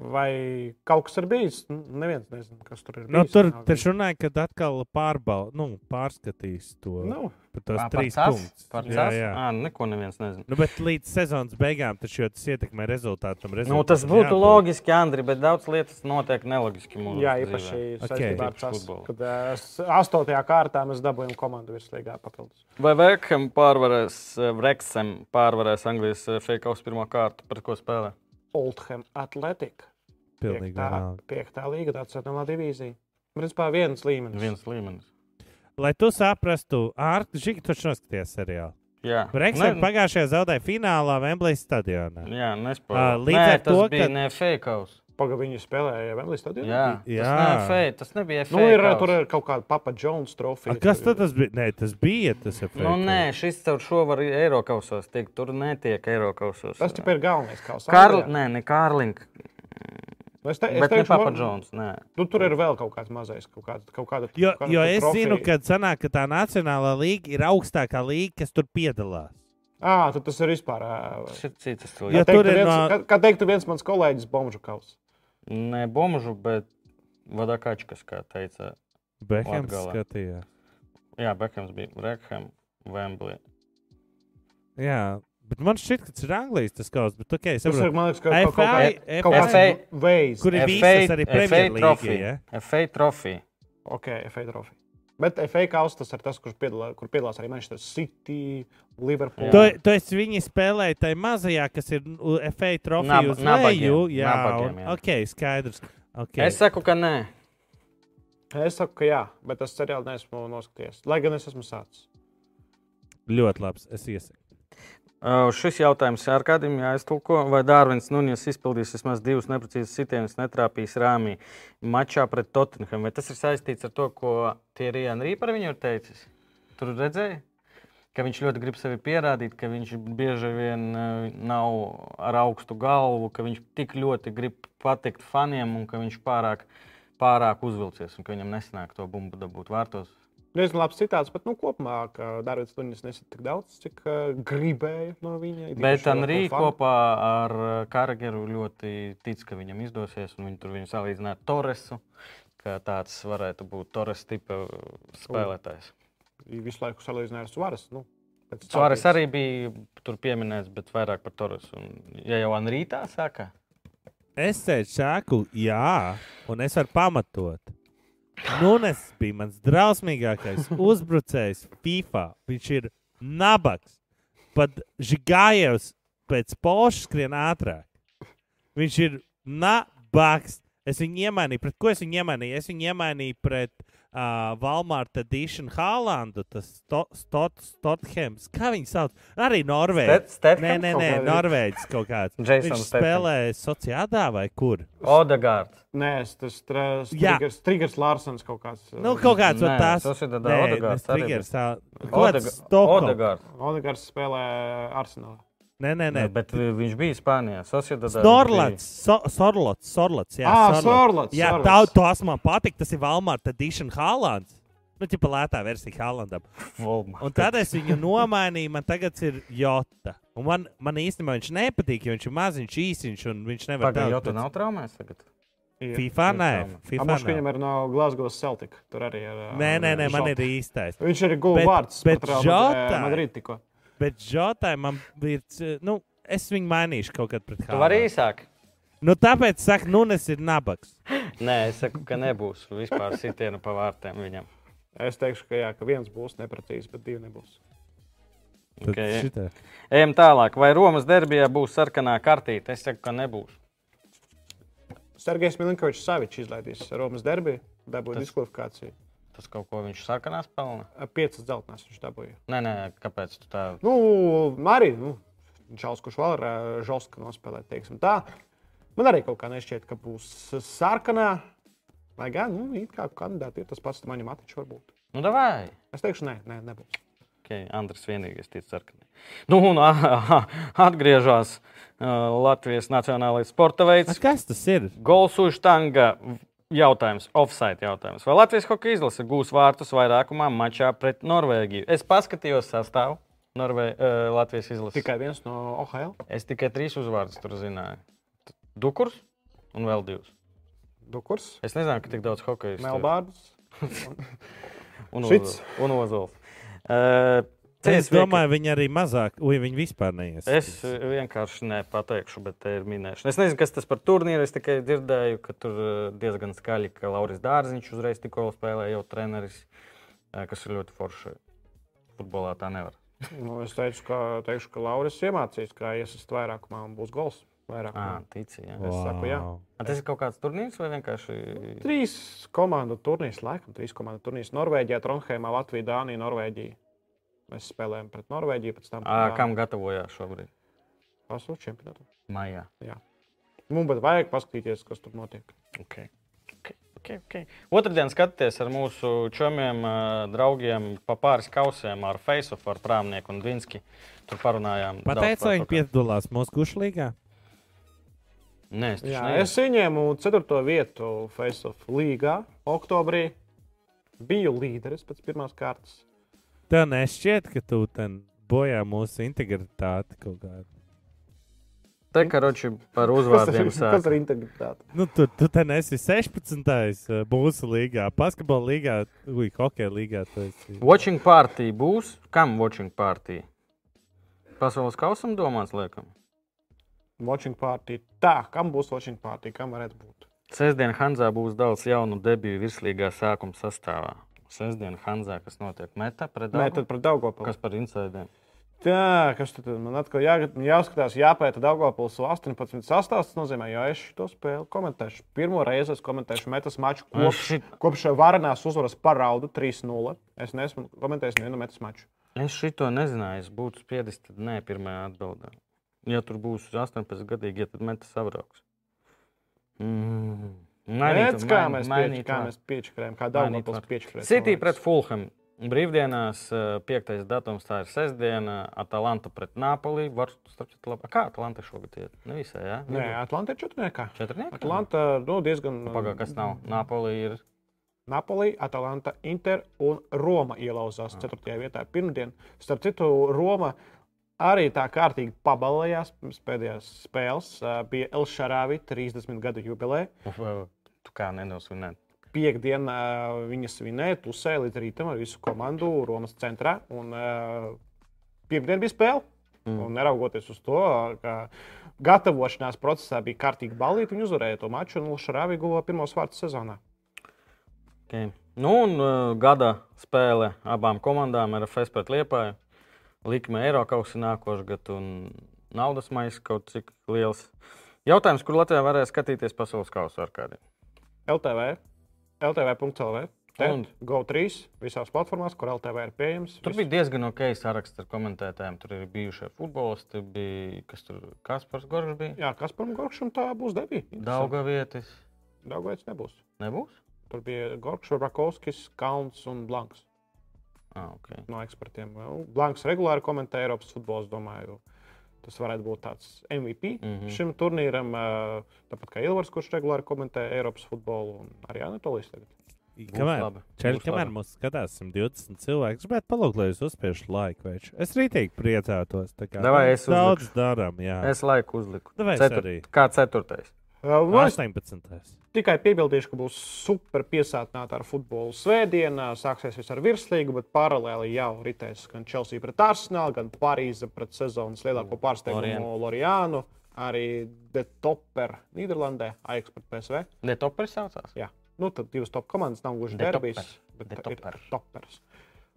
Speaker 1: Vai kaut kas ir bijis? Nu, Neviens nezina, kas tur ir.
Speaker 3: Nu,
Speaker 1: bijis, nav
Speaker 3: tur
Speaker 1: bijis.
Speaker 3: taču runāja, kad atkal pārbal, nu, pārskatīs to,
Speaker 1: Nu,
Speaker 3: nu, par tos
Speaker 2: Ā, par
Speaker 3: trīs
Speaker 2: tas?
Speaker 3: punktus.
Speaker 2: Par
Speaker 3: Jā,
Speaker 2: tas?
Speaker 3: jā.
Speaker 2: Ā, neko neviens nezina.
Speaker 3: Nu, bet līdz sezonas beigām taču jau tas ietekmē rezultātu. tam
Speaker 2: Nu, tas
Speaker 3: rezultātam
Speaker 2: būtu
Speaker 3: jābūt.
Speaker 2: loģiski, Andri, bet daudz lietas notiek neloģiski. mūsu
Speaker 1: jā,
Speaker 2: dzīvē.
Speaker 1: īpaši
Speaker 3: Ok.
Speaker 1: saistībā ar
Speaker 2: Tīpaši
Speaker 1: to,
Speaker 2: futbolu.
Speaker 1: kad eh, s- astotajā kārtā mēs dabūjām komandu virslīgā papildus.
Speaker 2: Vai Vekham pārvarēs, eh, Vreksam pārvarēs Anglijas uh, Falkaus pirmā kārtu, par ko spēlē?
Speaker 1: Oldham Athletic.
Speaker 3: Pilnīgi
Speaker 1: Piektā,
Speaker 3: vienalga.
Speaker 1: piektā līga, tā ceturtā divīzija. Principā viens līmenis.
Speaker 2: Viens līmenis.
Speaker 3: Lai tu saprastu, Artiņš, kurš taču noskatījās seriālu.
Speaker 2: Jā,
Speaker 3: Reksam
Speaker 2: Ne-
Speaker 3: pagājušajā zaudēja finālā Vemblijas stadionā.
Speaker 2: Jā,
Speaker 3: Ā,
Speaker 2: nespēlē.
Speaker 3: līdz
Speaker 2: Nē,
Speaker 3: ar
Speaker 2: tas
Speaker 3: to,
Speaker 2: bija
Speaker 3: ka-
Speaker 2: ne Falkaus.
Speaker 1: Pagaidā viņi spēlēja Vēmlis stadionā.
Speaker 2: Jā,
Speaker 3: Jā.
Speaker 2: Tas, ne FA, tas nebija FA.
Speaker 1: Nu, ir, eh,
Speaker 2: Kaus.
Speaker 1: tur ir kaut kāda Papa Jones
Speaker 3: A,
Speaker 1: trofeja.
Speaker 3: Kas tad tas bija? Nē, tas bija tas efekts.
Speaker 2: Nu, nē, šis caur šo var Eiropausos tikt. Tur netiek Eiropausos.
Speaker 1: Tas tikai ir galvenais. Kā
Speaker 2: Karl... Nē, ne Kārlings.
Speaker 1: Nu, Es, te, es
Speaker 2: Bet ne
Speaker 1: teikšu,
Speaker 2: Papa
Speaker 1: var-
Speaker 2: Džons, nē.
Speaker 1: Nu, tur ir vēl kaut kāds mazais, kaut kāda. Kaut kāda
Speaker 3: Jo,
Speaker 1: kaut kāda
Speaker 2: nu
Speaker 3: jo
Speaker 1: tur
Speaker 3: es
Speaker 1: trofeja.
Speaker 3: zinu, ka, sanāk, ka tā Nacionālā līnija ir augstākā līnija, kas tur piedalās.
Speaker 1: Ā, tad tas ir vispār. ā,
Speaker 2: Tas ir cits
Speaker 3: Jo
Speaker 1: Kā
Speaker 2: cilvēks.
Speaker 3: tur
Speaker 1: teiktu,
Speaker 3: ir
Speaker 1: viens,
Speaker 3: no-
Speaker 1: kā, kā teiktu viens mans kolēģis Bomžukovs.
Speaker 2: Ne bomžu, bet vadakačkas, kā teica.
Speaker 3: Behems
Speaker 2: Latgalē.
Speaker 3: skatījās.
Speaker 2: Jā, Bekhams bija Rekham, Wembley.
Speaker 3: Jā, bet man šķiet, ka tas ir Anglijas tas kaut kas, bet ok, es
Speaker 1: Tas ir
Speaker 3: saprotu.
Speaker 1: man liekas, ka kaut, kaut,
Speaker 3: FA,
Speaker 1: kā, kaut kāds
Speaker 2: FA.
Speaker 1: veids.
Speaker 3: Kur ir visas arī Premjerlīgā,
Speaker 2: trofija. FA trofija.
Speaker 1: Ok, FA trofija. Bet FA kausā tas ir tas, kurš piedalā, kur piedalās arī Manchester City, Liverpool.
Speaker 3: Tu, tu esi viņu spēlējis tajā mazajā, kas ir nu, FA trofeja
Speaker 2: Nab-
Speaker 3: uz
Speaker 2: nabagiem,
Speaker 3: leju. Jā,
Speaker 2: nabagiem,
Speaker 3: un-
Speaker 2: jā.
Speaker 3: ok, skaidrs. Okay.
Speaker 2: Es saku, ka nē.
Speaker 1: Es saku, ka jā, bet es seriāli neesmu noskaties. Lai gan es esmu sācis.
Speaker 3: ļoti labi. Es iesaku.
Speaker 2: Uh, Šis jautājums ar kādiem jāiztulko, vai Dārvins Nuņas izpildīs vismaz divus neprecīzus sitienus, netrāpīs rāmī mačā pret Tottenham. Vai tas ir saistīts ar to, ko Tierija Anrī par viņu ir teicis? Tur redzēji, ka viņš ļoti grib sevi pierādīt, ka viņš bieži vien uh, nav ar augstu galvu, ka viņš tik ļoti grib patikt faniem un ka viņš pārāk, pārāk uzvilcies un ka viņam nesanāk to bumbu dabūt vārtos.
Speaker 1: Diezgan labs citāts, bet nu, kopumā Dārvids Lunis nesat tik daudz, cik uh, gribēja no viņa. it
Speaker 2: Bet
Speaker 1: īpaši
Speaker 2: Anrija
Speaker 1: Liverpool fani.
Speaker 2: kopā ar uh, Karageru ļoti tic, ka viņam izdosies. un Viņi tur viņu salīdzināja ar Torresu. ka Tāds varētu būt Torres tipa uh, spēlētājs.
Speaker 1: Viņi Visu laiku salīdzināja ar Suāres. Nu, pēc tautības.
Speaker 2: Suāres arī bija tur pieminēts, bet vairāk par Torresu. Un, ja jau Anrija tā saka,
Speaker 3: Es teicu, šāku, jā, un es varu pamatot. Nunes bija mans drausmīgākais uzbrucējs FIFA. Viņš ir nabaks. Pat Žigājevs pēc pošas skrien ātrāk. Viņš ir nabaks. Es viņu iemainīju. Pret ko es viņu iemainīju? Es viņu iemainīju pret uh, Valmārta Dīšanu Hālandu, tas Stotthams. Kā viņi sauc? Arī Norvēģi.
Speaker 2: Stet- Stethams
Speaker 3: Nē, nē,
Speaker 2: kaut
Speaker 3: nē
Speaker 2: kādi?
Speaker 3: Norvēģis kaut kāds.
Speaker 2: Jason
Speaker 3: Viņš
Speaker 2: Statham.
Speaker 3: spēlēja sociālā vai kur?
Speaker 2: Odegaards.
Speaker 1: Nē, es- tas
Speaker 3: Jā.
Speaker 1: ir Strigers Lārsons kaut kāds. eh,
Speaker 3: Nu, kaut kāds no
Speaker 2: Nē,
Speaker 3: tās.
Speaker 2: tas ir tad
Speaker 3: Nē,
Speaker 2: Odegaards
Speaker 3: ne
Speaker 2: arī
Speaker 3: Strigers, tā
Speaker 2: Odega-
Speaker 3: Odegaards.
Speaker 2: Odegaards.
Speaker 1: Odegars spēlē Arsenalā.
Speaker 3: Nē, nē, nē.
Speaker 2: Nē, bet eh, vi- viņš bija Spānijā. Sociedad
Speaker 3: Norlands, Sorlots, Sorlots. Jā,
Speaker 1: Ā, Ah, Sorlots,
Speaker 3: Jā,
Speaker 1: Sorlots.
Speaker 3: tā, tas man patīk. Tas ir Valmārta Dīšana Hālands. Nu, tipā lētā versija Hālandam.
Speaker 2: Volma.
Speaker 3: Un tad es viņu nomainīju, man tagad ir Jota. Un man, man īstenībā viņš nepatīk, jo viņš ir maziņš, īsiņš, un viņš nevar
Speaker 2: Pagaidām, jau
Speaker 3: daudz-
Speaker 2: tu nav traumēs tagad.
Speaker 3: FIFA nē, FIFA
Speaker 1: Abas
Speaker 3: nē.
Speaker 1: viņam ir no Glasgow Celtic. Tur arī ir. ā,
Speaker 3: Nē, nē, nē, man ir
Speaker 1: Žota.
Speaker 3: īstais.
Speaker 1: Viņš ir guvis
Speaker 3: Bet-
Speaker 1: vārds.
Speaker 3: bet
Speaker 1: pat Real
Speaker 3: Žota-
Speaker 1: Madri- Madrid tikko.
Speaker 3: Bet Žotai man ir, c- nu, es viņu mainīšu kaut kad pret
Speaker 2: Tu vari
Speaker 3: Hālandu.
Speaker 2: īsāk?
Speaker 3: Nu, tāpēc, saka, Nunes ir nabaks.
Speaker 2: Nē, es saku, ka nebūs vispār sitienu pa vārtiem viņam.
Speaker 1: Es teikšu, ka, jā, ka viens būs nepratīgs, bet divi nebūs.
Speaker 3: Tad
Speaker 2: Okay.
Speaker 3: šitā.
Speaker 2: Ejam tālāk. Vai Romas derbijā būs sarkanā kartīte? Es saku, ka nebūs.
Speaker 1: Sergejs Milinkovičs Savičs izlaidīs Romas derbi, dabūja diskvalifikāciju.
Speaker 2: Tas kaut ko viņš sarkanā spēlē.
Speaker 1: Ā, Piecas dzeltenās viņš dabūja.
Speaker 2: Nē, nē, kāpēc tu tā?
Speaker 1: Nu, arī nu, Čāls, kurš vēl ir ā, žalska nospēlēt, teiksim tā. Man arī kaut kā nešķiet, ka būs sarkanā. Lai gan, nu, it kā kandidāti ir tas pats, man ir matiņš varbūt.
Speaker 2: Nu, davai!
Speaker 1: Es teikšu, nē, nē nebūs.
Speaker 2: Okay, Andrēs vienīgais tic sarkanai. Nu, un ā, atgriežas uh, Latvijas nacionālais sporta
Speaker 3: Mas
Speaker 2: veids.
Speaker 3: Kas tas ir?
Speaker 2: Gols uz štanga jautājums, offside jautājums. Vai Latvijas hokeja izlase gūs vārtus vairākumā mačā pret Norvēģiju? Es paskatījos sastāvu Norvē, uh, Latvijas izlases.
Speaker 1: Tikai viens no OHL.
Speaker 2: Es tikai trīs uzvārdus tur zināju. T- Dukurs un vēl divus.
Speaker 1: Dukurs,
Speaker 2: Es nezinu, ka tik daudz hokeja
Speaker 1: Melbārds.
Speaker 2: un
Speaker 1: Šits.
Speaker 2: Ozols- un Ozols. Uh,
Speaker 3: Es domāju, viņi arī mazāk, ui, viņi vispār neies.
Speaker 2: Es eh, vienkārši nepateikšu, bet te ir minēšana. Es nezinu, kas tas par turnīru. Es tikai dzirdēju, ka tur eh, diezgan skaļi, ka Lauris Dārziņš uzreiz tikko spēlēja jau treneris, eh, kas ir ļoti forši. Futbolā tā nevar.
Speaker 1: Nu, es teicu, ka, teikšu, ka Lauris iemācīs, kā iesist vairākumā un būs gols.
Speaker 2: À,
Speaker 1: Vairākumā.
Speaker 2: tici, jā.
Speaker 1: es saku, jā.
Speaker 3: Wow.
Speaker 2: A, tas ir kaut kāds turnīrs vai vienkārši?
Speaker 1: Trīs komandu turnīrs, laikam, trīs komandu turnīrs. Norvēģijā, Trondheimā, Latvijā, Dānijā, Norvēģijā. Mēs spēlējām pret Norvēģiju, pēc tam
Speaker 2: À, kam gatavojās šobrīd?
Speaker 1: pasaules čempionātam.
Speaker 2: Maijā.
Speaker 1: Mums pat vajag paskatīties, kas tur notiek.
Speaker 2: Okay. Okay, okay, okay. Otradien skatieties ar mūsu čomiem, eh, draugiem, pa pāris kausiem ar Faceoff, ar Prāmnieku un Dvinski. Tur parunājām. daudz
Speaker 3: Pateicu,
Speaker 2: par
Speaker 3: lai
Speaker 2: to,
Speaker 3: viņi
Speaker 2: kā-
Speaker 3: piedalās mūsu kušlīgā.
Speaker 2: Nē, es
Speaker 1: Jā,
Speaker 2: taču neesmu.
Speaker 1: es ieņēmu ceturto vietu Face of League. Oktobrī biju līderis pēc pirmās kārtas.
Speaker 3: Tev nešķiet, ka tu ten bojā mūsu integritāti kaut kādā.
Speaker 2: Te, karoči, par
Speaker 1: Kas ir,
Speaker 2: uzvārdiem
Speaker 1: kas ir
Speaker 2: sāk.
Speaker 1: integritāte?
Speaker 3: Nu, tu, tu ten esi 16. eh, mūsu līgā, basketbola līgā, ui, hokeja līgā. tu esi.
Speaker 2: Watching party būs? Kam watching party? Pasaules kausam domāts, liekam.
Speaker 1: Watching party. Tā, kam būs watching party? Kam varētu būt?
Speaker 2: Sestdien Hanzā būs daudz jaunu debiju virslīgā sākuma sastāvā. Sestdien Hanzā, kas notiek metā pret
Speaker 1: Nē,
Speaker 2: Daugavu?
Speaker 1: tad par Daugopili.
Speaker 2: Kas par insidiem?
Speaker 1: Tā, kas tad man atkal jā, jāskatās, jāpēta Daugopils 18 sastāvs. Tas nozīmē, jo es šo spēli komentēšu. Pirmo reizi es komentēšu metas maču kopš,
Speaker 2: šit,
Speaker 1: kopš varenās uzvaras paraudu 3-0. Es neesmu komentējis nevienu metas maču.
Speaker 2: es šito nezināju. Es būtu spiedis, tad nē, pirmajā atbildē. Ja tur būs 18 gadīgi, ja tad metā savrauks. Mm. Mainīt
Speaker 1: Redz,
Speaker 2: var,
Speaker 1: kā
Speaker 2: main-
Speaker 1: mēs
Speaker 2: mainīt var.
Speaker 1: piečakrējām, kā
Speaker 2: Mainīt
Speaker 1: Daugopils
Speaker 2: var.
Speaker 1: piečakrējām.
Speaker 2: City pret Fulham. Brīvdienās, 5. datums, tā ir sestdiena, Atalanta pret Napoli. Var, starp citu, labi. Kā Atalanta šogad iet? Nevisai, jā?
Speaker 1: Nē, Atlantija četrniekā.
Speaker 2: Četrniekā?
Speaker 1: Atlanta nu, diezgan.
Speaker 2: Pagaidām, kas nav.
Speaker 1: mm.
Speaker 2: Napoli ir
Speaker 1: Napoli, Atlanta, Inter un Roma ielauzās 4. vietā pirmdien. Starp citu, Roma arī tā kārtīgi pabalējās pirms pēdējās spēles. Ā, Bija Elšarāvi 30 gadu jubileja.
Speaker 2: Tu kā nenosvinēt.
Speaker 1: Piektdien ā, viņa svinēja, tusēja līdz rītam ar visu komandu Romas centrā. Un ā, pirmdien bija spēle. Mm. Un neraugoties uz to, ka gatavošanās procesā bija kārtīgi balīti, viņi uzvarēja to maču un Elšarāvi guva pirmos vārtus sezonā.
Speaker 2: Okay. Nu, un uh, gada spēle abām komandām ir FS pret Liepāju. Likme Eiro kausā nākošais gads un naudas maisa kaut cik liels. Jautājums, kur Latvijā varēja skatīties pasaules kausu ar kādiem?
Speaker 1: LTV, LTV.CLV,
Speaker 2: Un?
Speaker 1: GO3, visās platformās, kur LTV ir pieejams.
Speaker 2: Tur bija diezgan ok saraksts ar komentētājiem. Tur ir bijušie futbolisti, bija kas tur Kaspars Gorgs bija.
Speaker 1: Jā, kas par Gorkšam tā būs debija?
Speaker 2: Dauga vietas
Speaker 1: Daudzpusīgais nebūs.
Speaker 2: nebūs.
Speaker 1: Tur bija Gorkšs, Rakovskis, Kalns un Blanks
Speaker 2: Ah, okay.
Speaker 1: no ekspertiem. Nu, Blanks regulāri komentē Eiropas futbolu, es domāju. Tas varētu būt tāds MVP mm
Speaker 2: Mhm.
Speaker 1: -hmm. šim turnīram, ā, tāpat kā Ilvars, kurš regulāri komentē Eiropas futbolu, un arī Anatolijas tagad.
Speaker 2: Būs
Speaker 3: Kamēr,
Speaker 2: labi,
Speaker 3: čeļ,
Speaker 2: būs
Speaker 3: kamēr
Speaker 2: labi.
Speaker 3: mums skatās 120 cilvēki, gribētu palūgt, lai jūs uzspiežat laiku. Veču. Es rītīgi priecātos. tā kā
Speaker 2: Davai,
Speaker 3: mēs
Speaker 2: es
Speaker 3: daudz darām. Jā,
Speaker 2: Es laiku uzliku.
Speaker 3: Davai, es
Speaker 2: Ceturt,
Speaker 3: arī.
Speaker 2: kā ceturtais?
Speaker 1: Ā, Nu, es
Speaker 3: 18.
Speaker 1: Tikai piebildīšu, ka būs super piesātināta ar futbolu svētdienā. Sāksies viss ar virslīgu, bet paralēli jau ritēs gan Chelsea pret Arsenalu, gan Parīze pret sezonas lielāko pārsteigumu
Speaker 2: Lorient.
Speaker 1: Lorianu. Arī The Topper Nīderlandē, AIX pret PSV.
Speaker 2: Ne topers saucās.
Speaker 1: Jā. Nu, tad divas top komandas nav gluži
Speaker 2: The
Speaker 1: derbijas,
Speaker 2: Topper.
Speaker 1: bet
Speaker 2: The
Speaker 1: ir
Speaker 2: Topper.
Speaker 1: Toppers.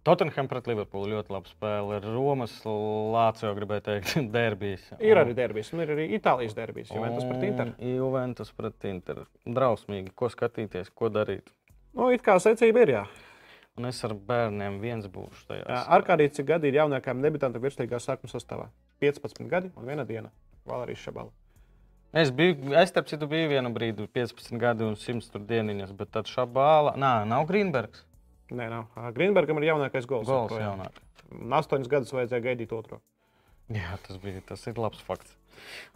Speaker 2: Tottenham pret Liverpoolu ļoti laba spēle. Ir Romas Lācis, jau gribēju teikt, derbijas.
Speaker 1: Ir arī derbijas, un ir arī Itālijas derbijas, jo vien tas pret Interu.
Speaker 2: Juventus pret Interu. Drausmīgi, ko skatīties, ko darīt.
Speaker 1: Nu, it kā secība ir, jā.
Speaker 2: Un es ar bērniem viens būšu tajā.
Speaker 1: Ar kādī cik gadi ir jaunākajam debitantam virslīgā sākuma sastāvā? 15 gadi un viena diena. Valērijas Šabala.
Speaker 2: Es biju, es starp citu biju vienu brīdi, 15 gadu un 100 dieniņas, bet tad šabāla. Nē, nav Grīmbergs.
Speaker 1: Nē, nav. Ā, Grīnbergam ir jaunākais gols.
Speaker 2: Gols
Speaker 1: joprojām.
Speaker 2: jaunāk.
Speaker 1: Un Astoņus gadus vajadzēja gaidīt otro.
Speaker 2: Jā, tas bija, tas ir labs fakts.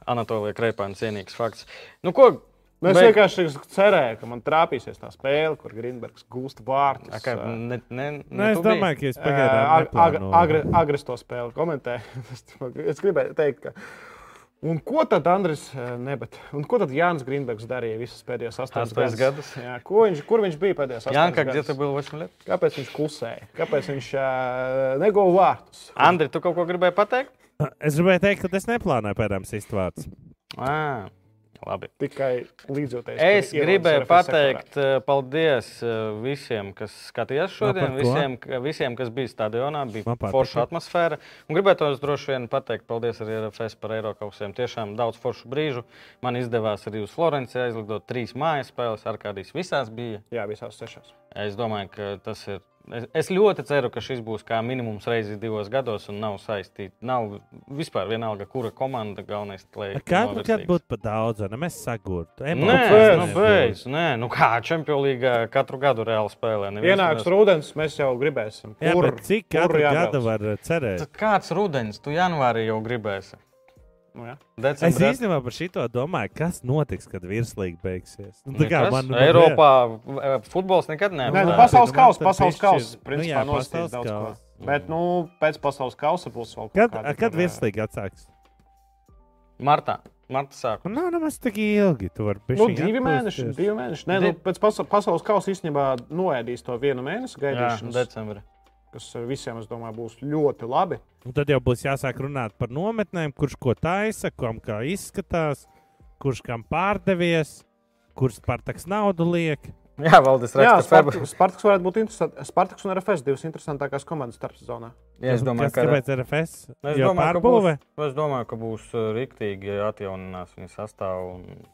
Speaker 2: Anatolija Kreipāna cienīgs fakts. Nu ko?
Speaker 1: Nu, es
Speaker 2: beig-
Speaker 1: vienkārši cerēju, ka man trāpīsies tā spēle, kur Grīnbergs gūst vārtus.
Speaker 2: Ā, kā, Ne, ne,
Speaker 3: Nu,
Speaker 2: ne,
Speaker 3: es
Speaker 2: tu biji?
Speaker 3: domāju, ka es
Speaker 1: Ag- ag-
Speaker 3: pagaidām
Speaker 1: agri- Agres to spēli komentē. Es to- es gribēju teikt, ka. Un ko tad Andris Nebet? Un ko tad Jānis Grīnbergs darīja visus pēdējos astoņus
Speaker 2: Astoņus
Speaker 1: gadus?
Speaker 2: gadus.
Speaker 1: Jā, ko viņš, kur viņš bija pēdējos astoņus
Speaker 2: Janka,
Speaker 1: gadus?
Speaker 2: где ты был 8 лет?
Speaker 1: Kāpēc viņš klusēja? Kāpēc viņš uh, neguva vārtus?
Speaker 2: Andri, tu kaut ko gribēji pateikt?
Speaker 3: Es gribēju teikt, ka es neplānoju pēdējām sistvārds.
Speaker 2: À, labi.
Speaker 1: Tikai līdzjoties.
Speaker 2: Es
Speaker 1: kur ierodas
Speaker 2: gribēju
Speaker 1: RFS sektorā.
Speaker 2: pateikt, eh, paldies eh, visiem, kas skatījās šodien,
Speaker 3: par ko?
Speaker 2: visiem, ka- visiem, kas bija stadionā. Bija
Speaker 3: Man patika.
Speaker 2: forša atmosfēra. Un gribētu tos droši vien pateikt, paldies arī RFS par Eiropausiem. Tiešām daudz foršu brīžu. Man izdevās arī uz Florenciju aizlidot trīs mājas spēles, ar kādīs visās bija.
Speaker 1: Jā, visās sešās.
Speaker 2: Es domāju, ka tas ir. Es, es ļoti ceru, ka šis būs kā minimums reizi divos gados un nav saistīts. Nav vispār vienalga, kura komanda galvenais. lai
Speaker 3: Kādu
Speaker 2: novirzīgas.
Speaker 3: gadu būtu nu pa daudz, vai ne? Mēs sagurtu.
Speaker 2: Nē,
Speaker 3: Emocijas
Speaker 2: nu,
Speaker 3: nebūtu.
Speaker 2: beidz. Nē, nu kā Champions League katru gadu reāli spēlē. neviens
Speaker 1: Ienāks
Speaker 2: nenes-
Speaker 1: rudens, mēs jau gribēsim.
Speaker 3: Jā,
Speaker 1: Kur,
Speaker 3: bet cik
Speaker 1: kur
Speaker 3: katru
Speaker 1: jābrauc?
Speaker 3: gadu var eh, cerēt?
Speaker 2: Tad Kāds rudens, tu janvārī jau gribēsi?
Speaker 1: Nu, jā.
Speaker 3: Es
Speaker 2: Decembrā
Speaker 3: īstenībā par šito domāju, kas notiks, kad virslija beigsies. Nu, tā kā
Speaker 2: Nekas.
Speaker 3: man
Speaker 2: Mm. Eiropā v- futbols nekad
Speaker 1: Nē, nu,
Speaker 2: nebija.
Speaker 3: Nē,
Speaker 1: pasaules
Speaker 3: bet man
Speaker 1: kausa,
Speaker 3: tad
Speaker 1: pasaules
Speaker 3: piešķir-
Speaker 1: kausa.
Speaker 3: nu
Speaker 1: Principā
Speaker 3: jā,
Speaker 1: nu, nostājās
Speaker 3: pasaules
Speaker 1: daudz ko.
Speaker 3: kausa.
Speaker 1: Bet, nu, pēc pasaules kausa būs vēl kaut
Speaker 3: Kad,
Speaker 1: kāda.
Speaker 3: kad
Speaker 1: tur,
Speaker 3: virslija atsāks?
Speaker 2: Martā. Marta sākumā.
Speaker 3: Nu, Nav nemaz tik ilgi. Tur var būt
Speaker 1: Nu, divi mēneši. Divi mēneši. Nē, nu,
Speaker 2: Di-
Speaker 1: pēc pasa pasaules kausa īstenībā noēdīs to vienu mēnesi gaidīšanas,
Speaker 2: Decembrī.
Speaker 1: kas eh, visiem, es domāju, būs ļoti labi.
Speaker 3: Un tad jau būs jāsāk runāt par nometnēm, kurš ko taisa, kam kā izskatās, kurš kam pārdevies, kurš pārtaks naudu liek.
Speaker 2: Jā, Valdis
Speaker 1: Jā,
Speaker 2: raksta, ka
Speaker 1: Spartaks, Spartaks varētu būt interesants. Spartaks un RFS divas interesantākās komandas starp sezonā.
Speaker 2: Es domāju, ka
Speaker 3: tas ir RFS.
Speaker 2: Nu, Es
Speaker 3: Jo
Speaker 2: domāju, ka būs,
Speaker 3: pārbūve.
Speaker 2: es domāju, ka būs uh, riktīgi atjauninās viņa sastāvā. un,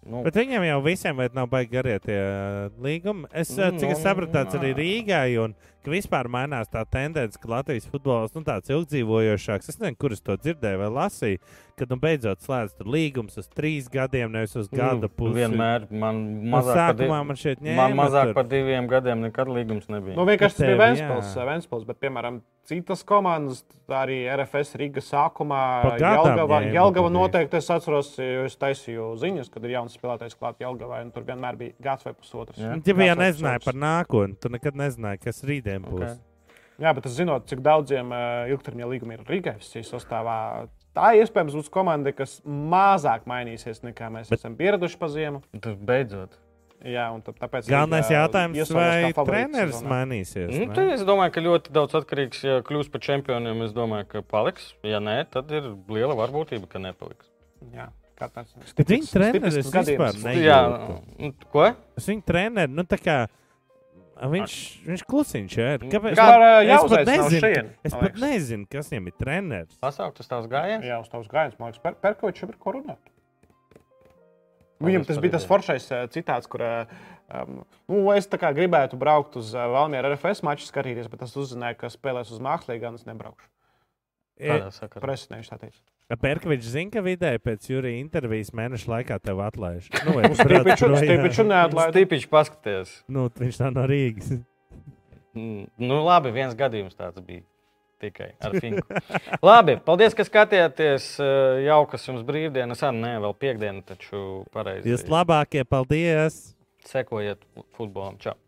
Speaker 2: Nu,
Speaker 3: Bet viņiem jau visiem vajag nav baigi garie tie ā, līgumi. Es, ā, cik es
Speaker 2: Nu,
Speaker 3: sapratu, tāds arī
Speaker 2: nā.
Speaker 3: Rīgai, un ka vispār mainās tā tendence, ka Latvijas futbols nu, tāds ilgdzīvojošāks. Es nezinu, kur es to dzirdēju vai lasīju, kad nu, beidzot slēdz tur līgums uz trīs gadiem, nevis uz gada
Speaker 2: nu,
Speaker 3: pusi.
Speaker 2: Vienmēr man
Speaker 3: Un
Speaker 2: mazāk, par,
Speaker 3: sākumā
Speaker 2: div...
Speaker 3: man šeit ņēma.
Speaker 2: man mazāk
Speaker 3: tur.
Speaker 2: par diviem gadiem nekad līgums nebija.
Speaker 1: Nu, vienkārši tas
Speaker 3: Tev,
Speaker 1: bija Vēnspils,
Speaker 3: jā.
Speaker 1: Vēnspils, bet, piemēram, citas komandas, tā arī RFS Riga sākumā,
Speaker 3: Pa gadām
Speaker 1: Jelgava,
Speaker 3: ņēma
Speaker 1: Jelgava
Speaker 3: tad
Speaker 1: noteikti, es atceros, jo es taisīju ziņas, kad ir jauns spēlētājs klāt Jelgavai, un tur vienmēr bija gads vai pusotrs.
Speaker 2: Jā.
Speaker 3: Ja
Speaker 1: Gads
Speaker 3: bija
Speaker 1: vai
Speaker 3: nezināja
Speaker 1: pusotrs.
Speaker 3: par nākotni, tu nekad nezināji, kas rītdien būs.
Speaker 2: Ok.
Speaker 3: Okay.
Speaker 1: Jā, bet es zinot, cik daudziem eh, ilgtermiņa līgumiem ir Riga FC sastāvā. Tā iespējams būs komanda, kas mazāk mainīsies nekā mēs bet... esam pieraduši pa ziemu.
Speaker 3: Nu.
Speaker 2: Tas beidzot.
Speaker 1: Jā, un tā- tāpēc
Speaker 3: Galvenais
Speaker 1: Riga
Speaker 3: jautājums, vai
Speaker 1: iesaulēs kā favorīts Mm,
Speaker 3: treneris
Speaker 1: sezonā.
Speaker 3: mainīsies?
Speaker 2: Nu,
Speaker 3: ne?
Speaker 2: tad es domāju, ka ļoti daudz atkarīgs. Ja kļūs par čempioniem, es domāju, ka paliks. Ja nē, tad ir liela varbūtība, ka nepaliks.
Speaker 1: Jā, kā tāds
Speaker 3: Bet
Speaker 1: tipisks-
Speaker 3: viņa treneris
Speaker 1: tipisks
Speaker 3: vispār
Speaker 1: gadījums.
Speaker 3: ne-
Speaker 2: Jā,
Speaker 3: jūtu.
Speaker 2: nu, ko?
Speaker 3: Es viņu treneru, nu tā kā. Viņš, viņš klusiņš ir. Kāpēc?
Speaker 1: Kā, ā,
Speaker 3: es pat
Speaker 1: jāuzveic nav
Speaker 3: nezinu,
Speaker 1: šejien,
Speaker 3: ka- es
Speaker 1: man
Speaker 3: pat
Speaker 1: liekas.
Speaker 3: nezinu, kas viņam ir treneris.
Speaker 2: Pasaukt uz tās gājienas.
Speaker 1: Jā, uz tavas gājienas, man liekas, per, Perkovičs ir ko runāt.
Speaker 2: Paldies
Speaker 1: Viņam tas
Speaker 2: par
Speaker 1: bija tas
Speaker 2: ideju.
Speaker 1: foršais eh, citāts, kur eh, um, nu, es tā kā gribētu braukt uz eh, Valmiera RFS maču skatīties, bet es uzzināju, ka spēlēs uz mākslīgi, gan es nebraukšu.
Speaker 3: E,
Speaker 2: Tādā sakarā.
Speaker 1: Presinējuši tā teikt.
Speaker 3: Perkovičs zina, ka vidēji pēc jūrija intervijas mēneša laikā tev atlaiž. Nu, vai tu brauc
Speaker 1: Stiepiču
Speaker 3: projām?
Speaker 1: stiepiču neatlaid.
Speaker 2: Tipiski paskaties.
Speaker 3: Nu, viņš nav no Rīgas.
Speaker 2: Mm, Nu, labi, viens gadījums tāds bija. Tikai ar finku. labi, paldies, ka skatījāties. eh, Jaukas jums brīvdienas, ah, nē, vēl piekdiena, taču pareizi.
Speaker 3: Jūs labākie, paldies!
Speaker 2: Sekojiet futbolam. Čau!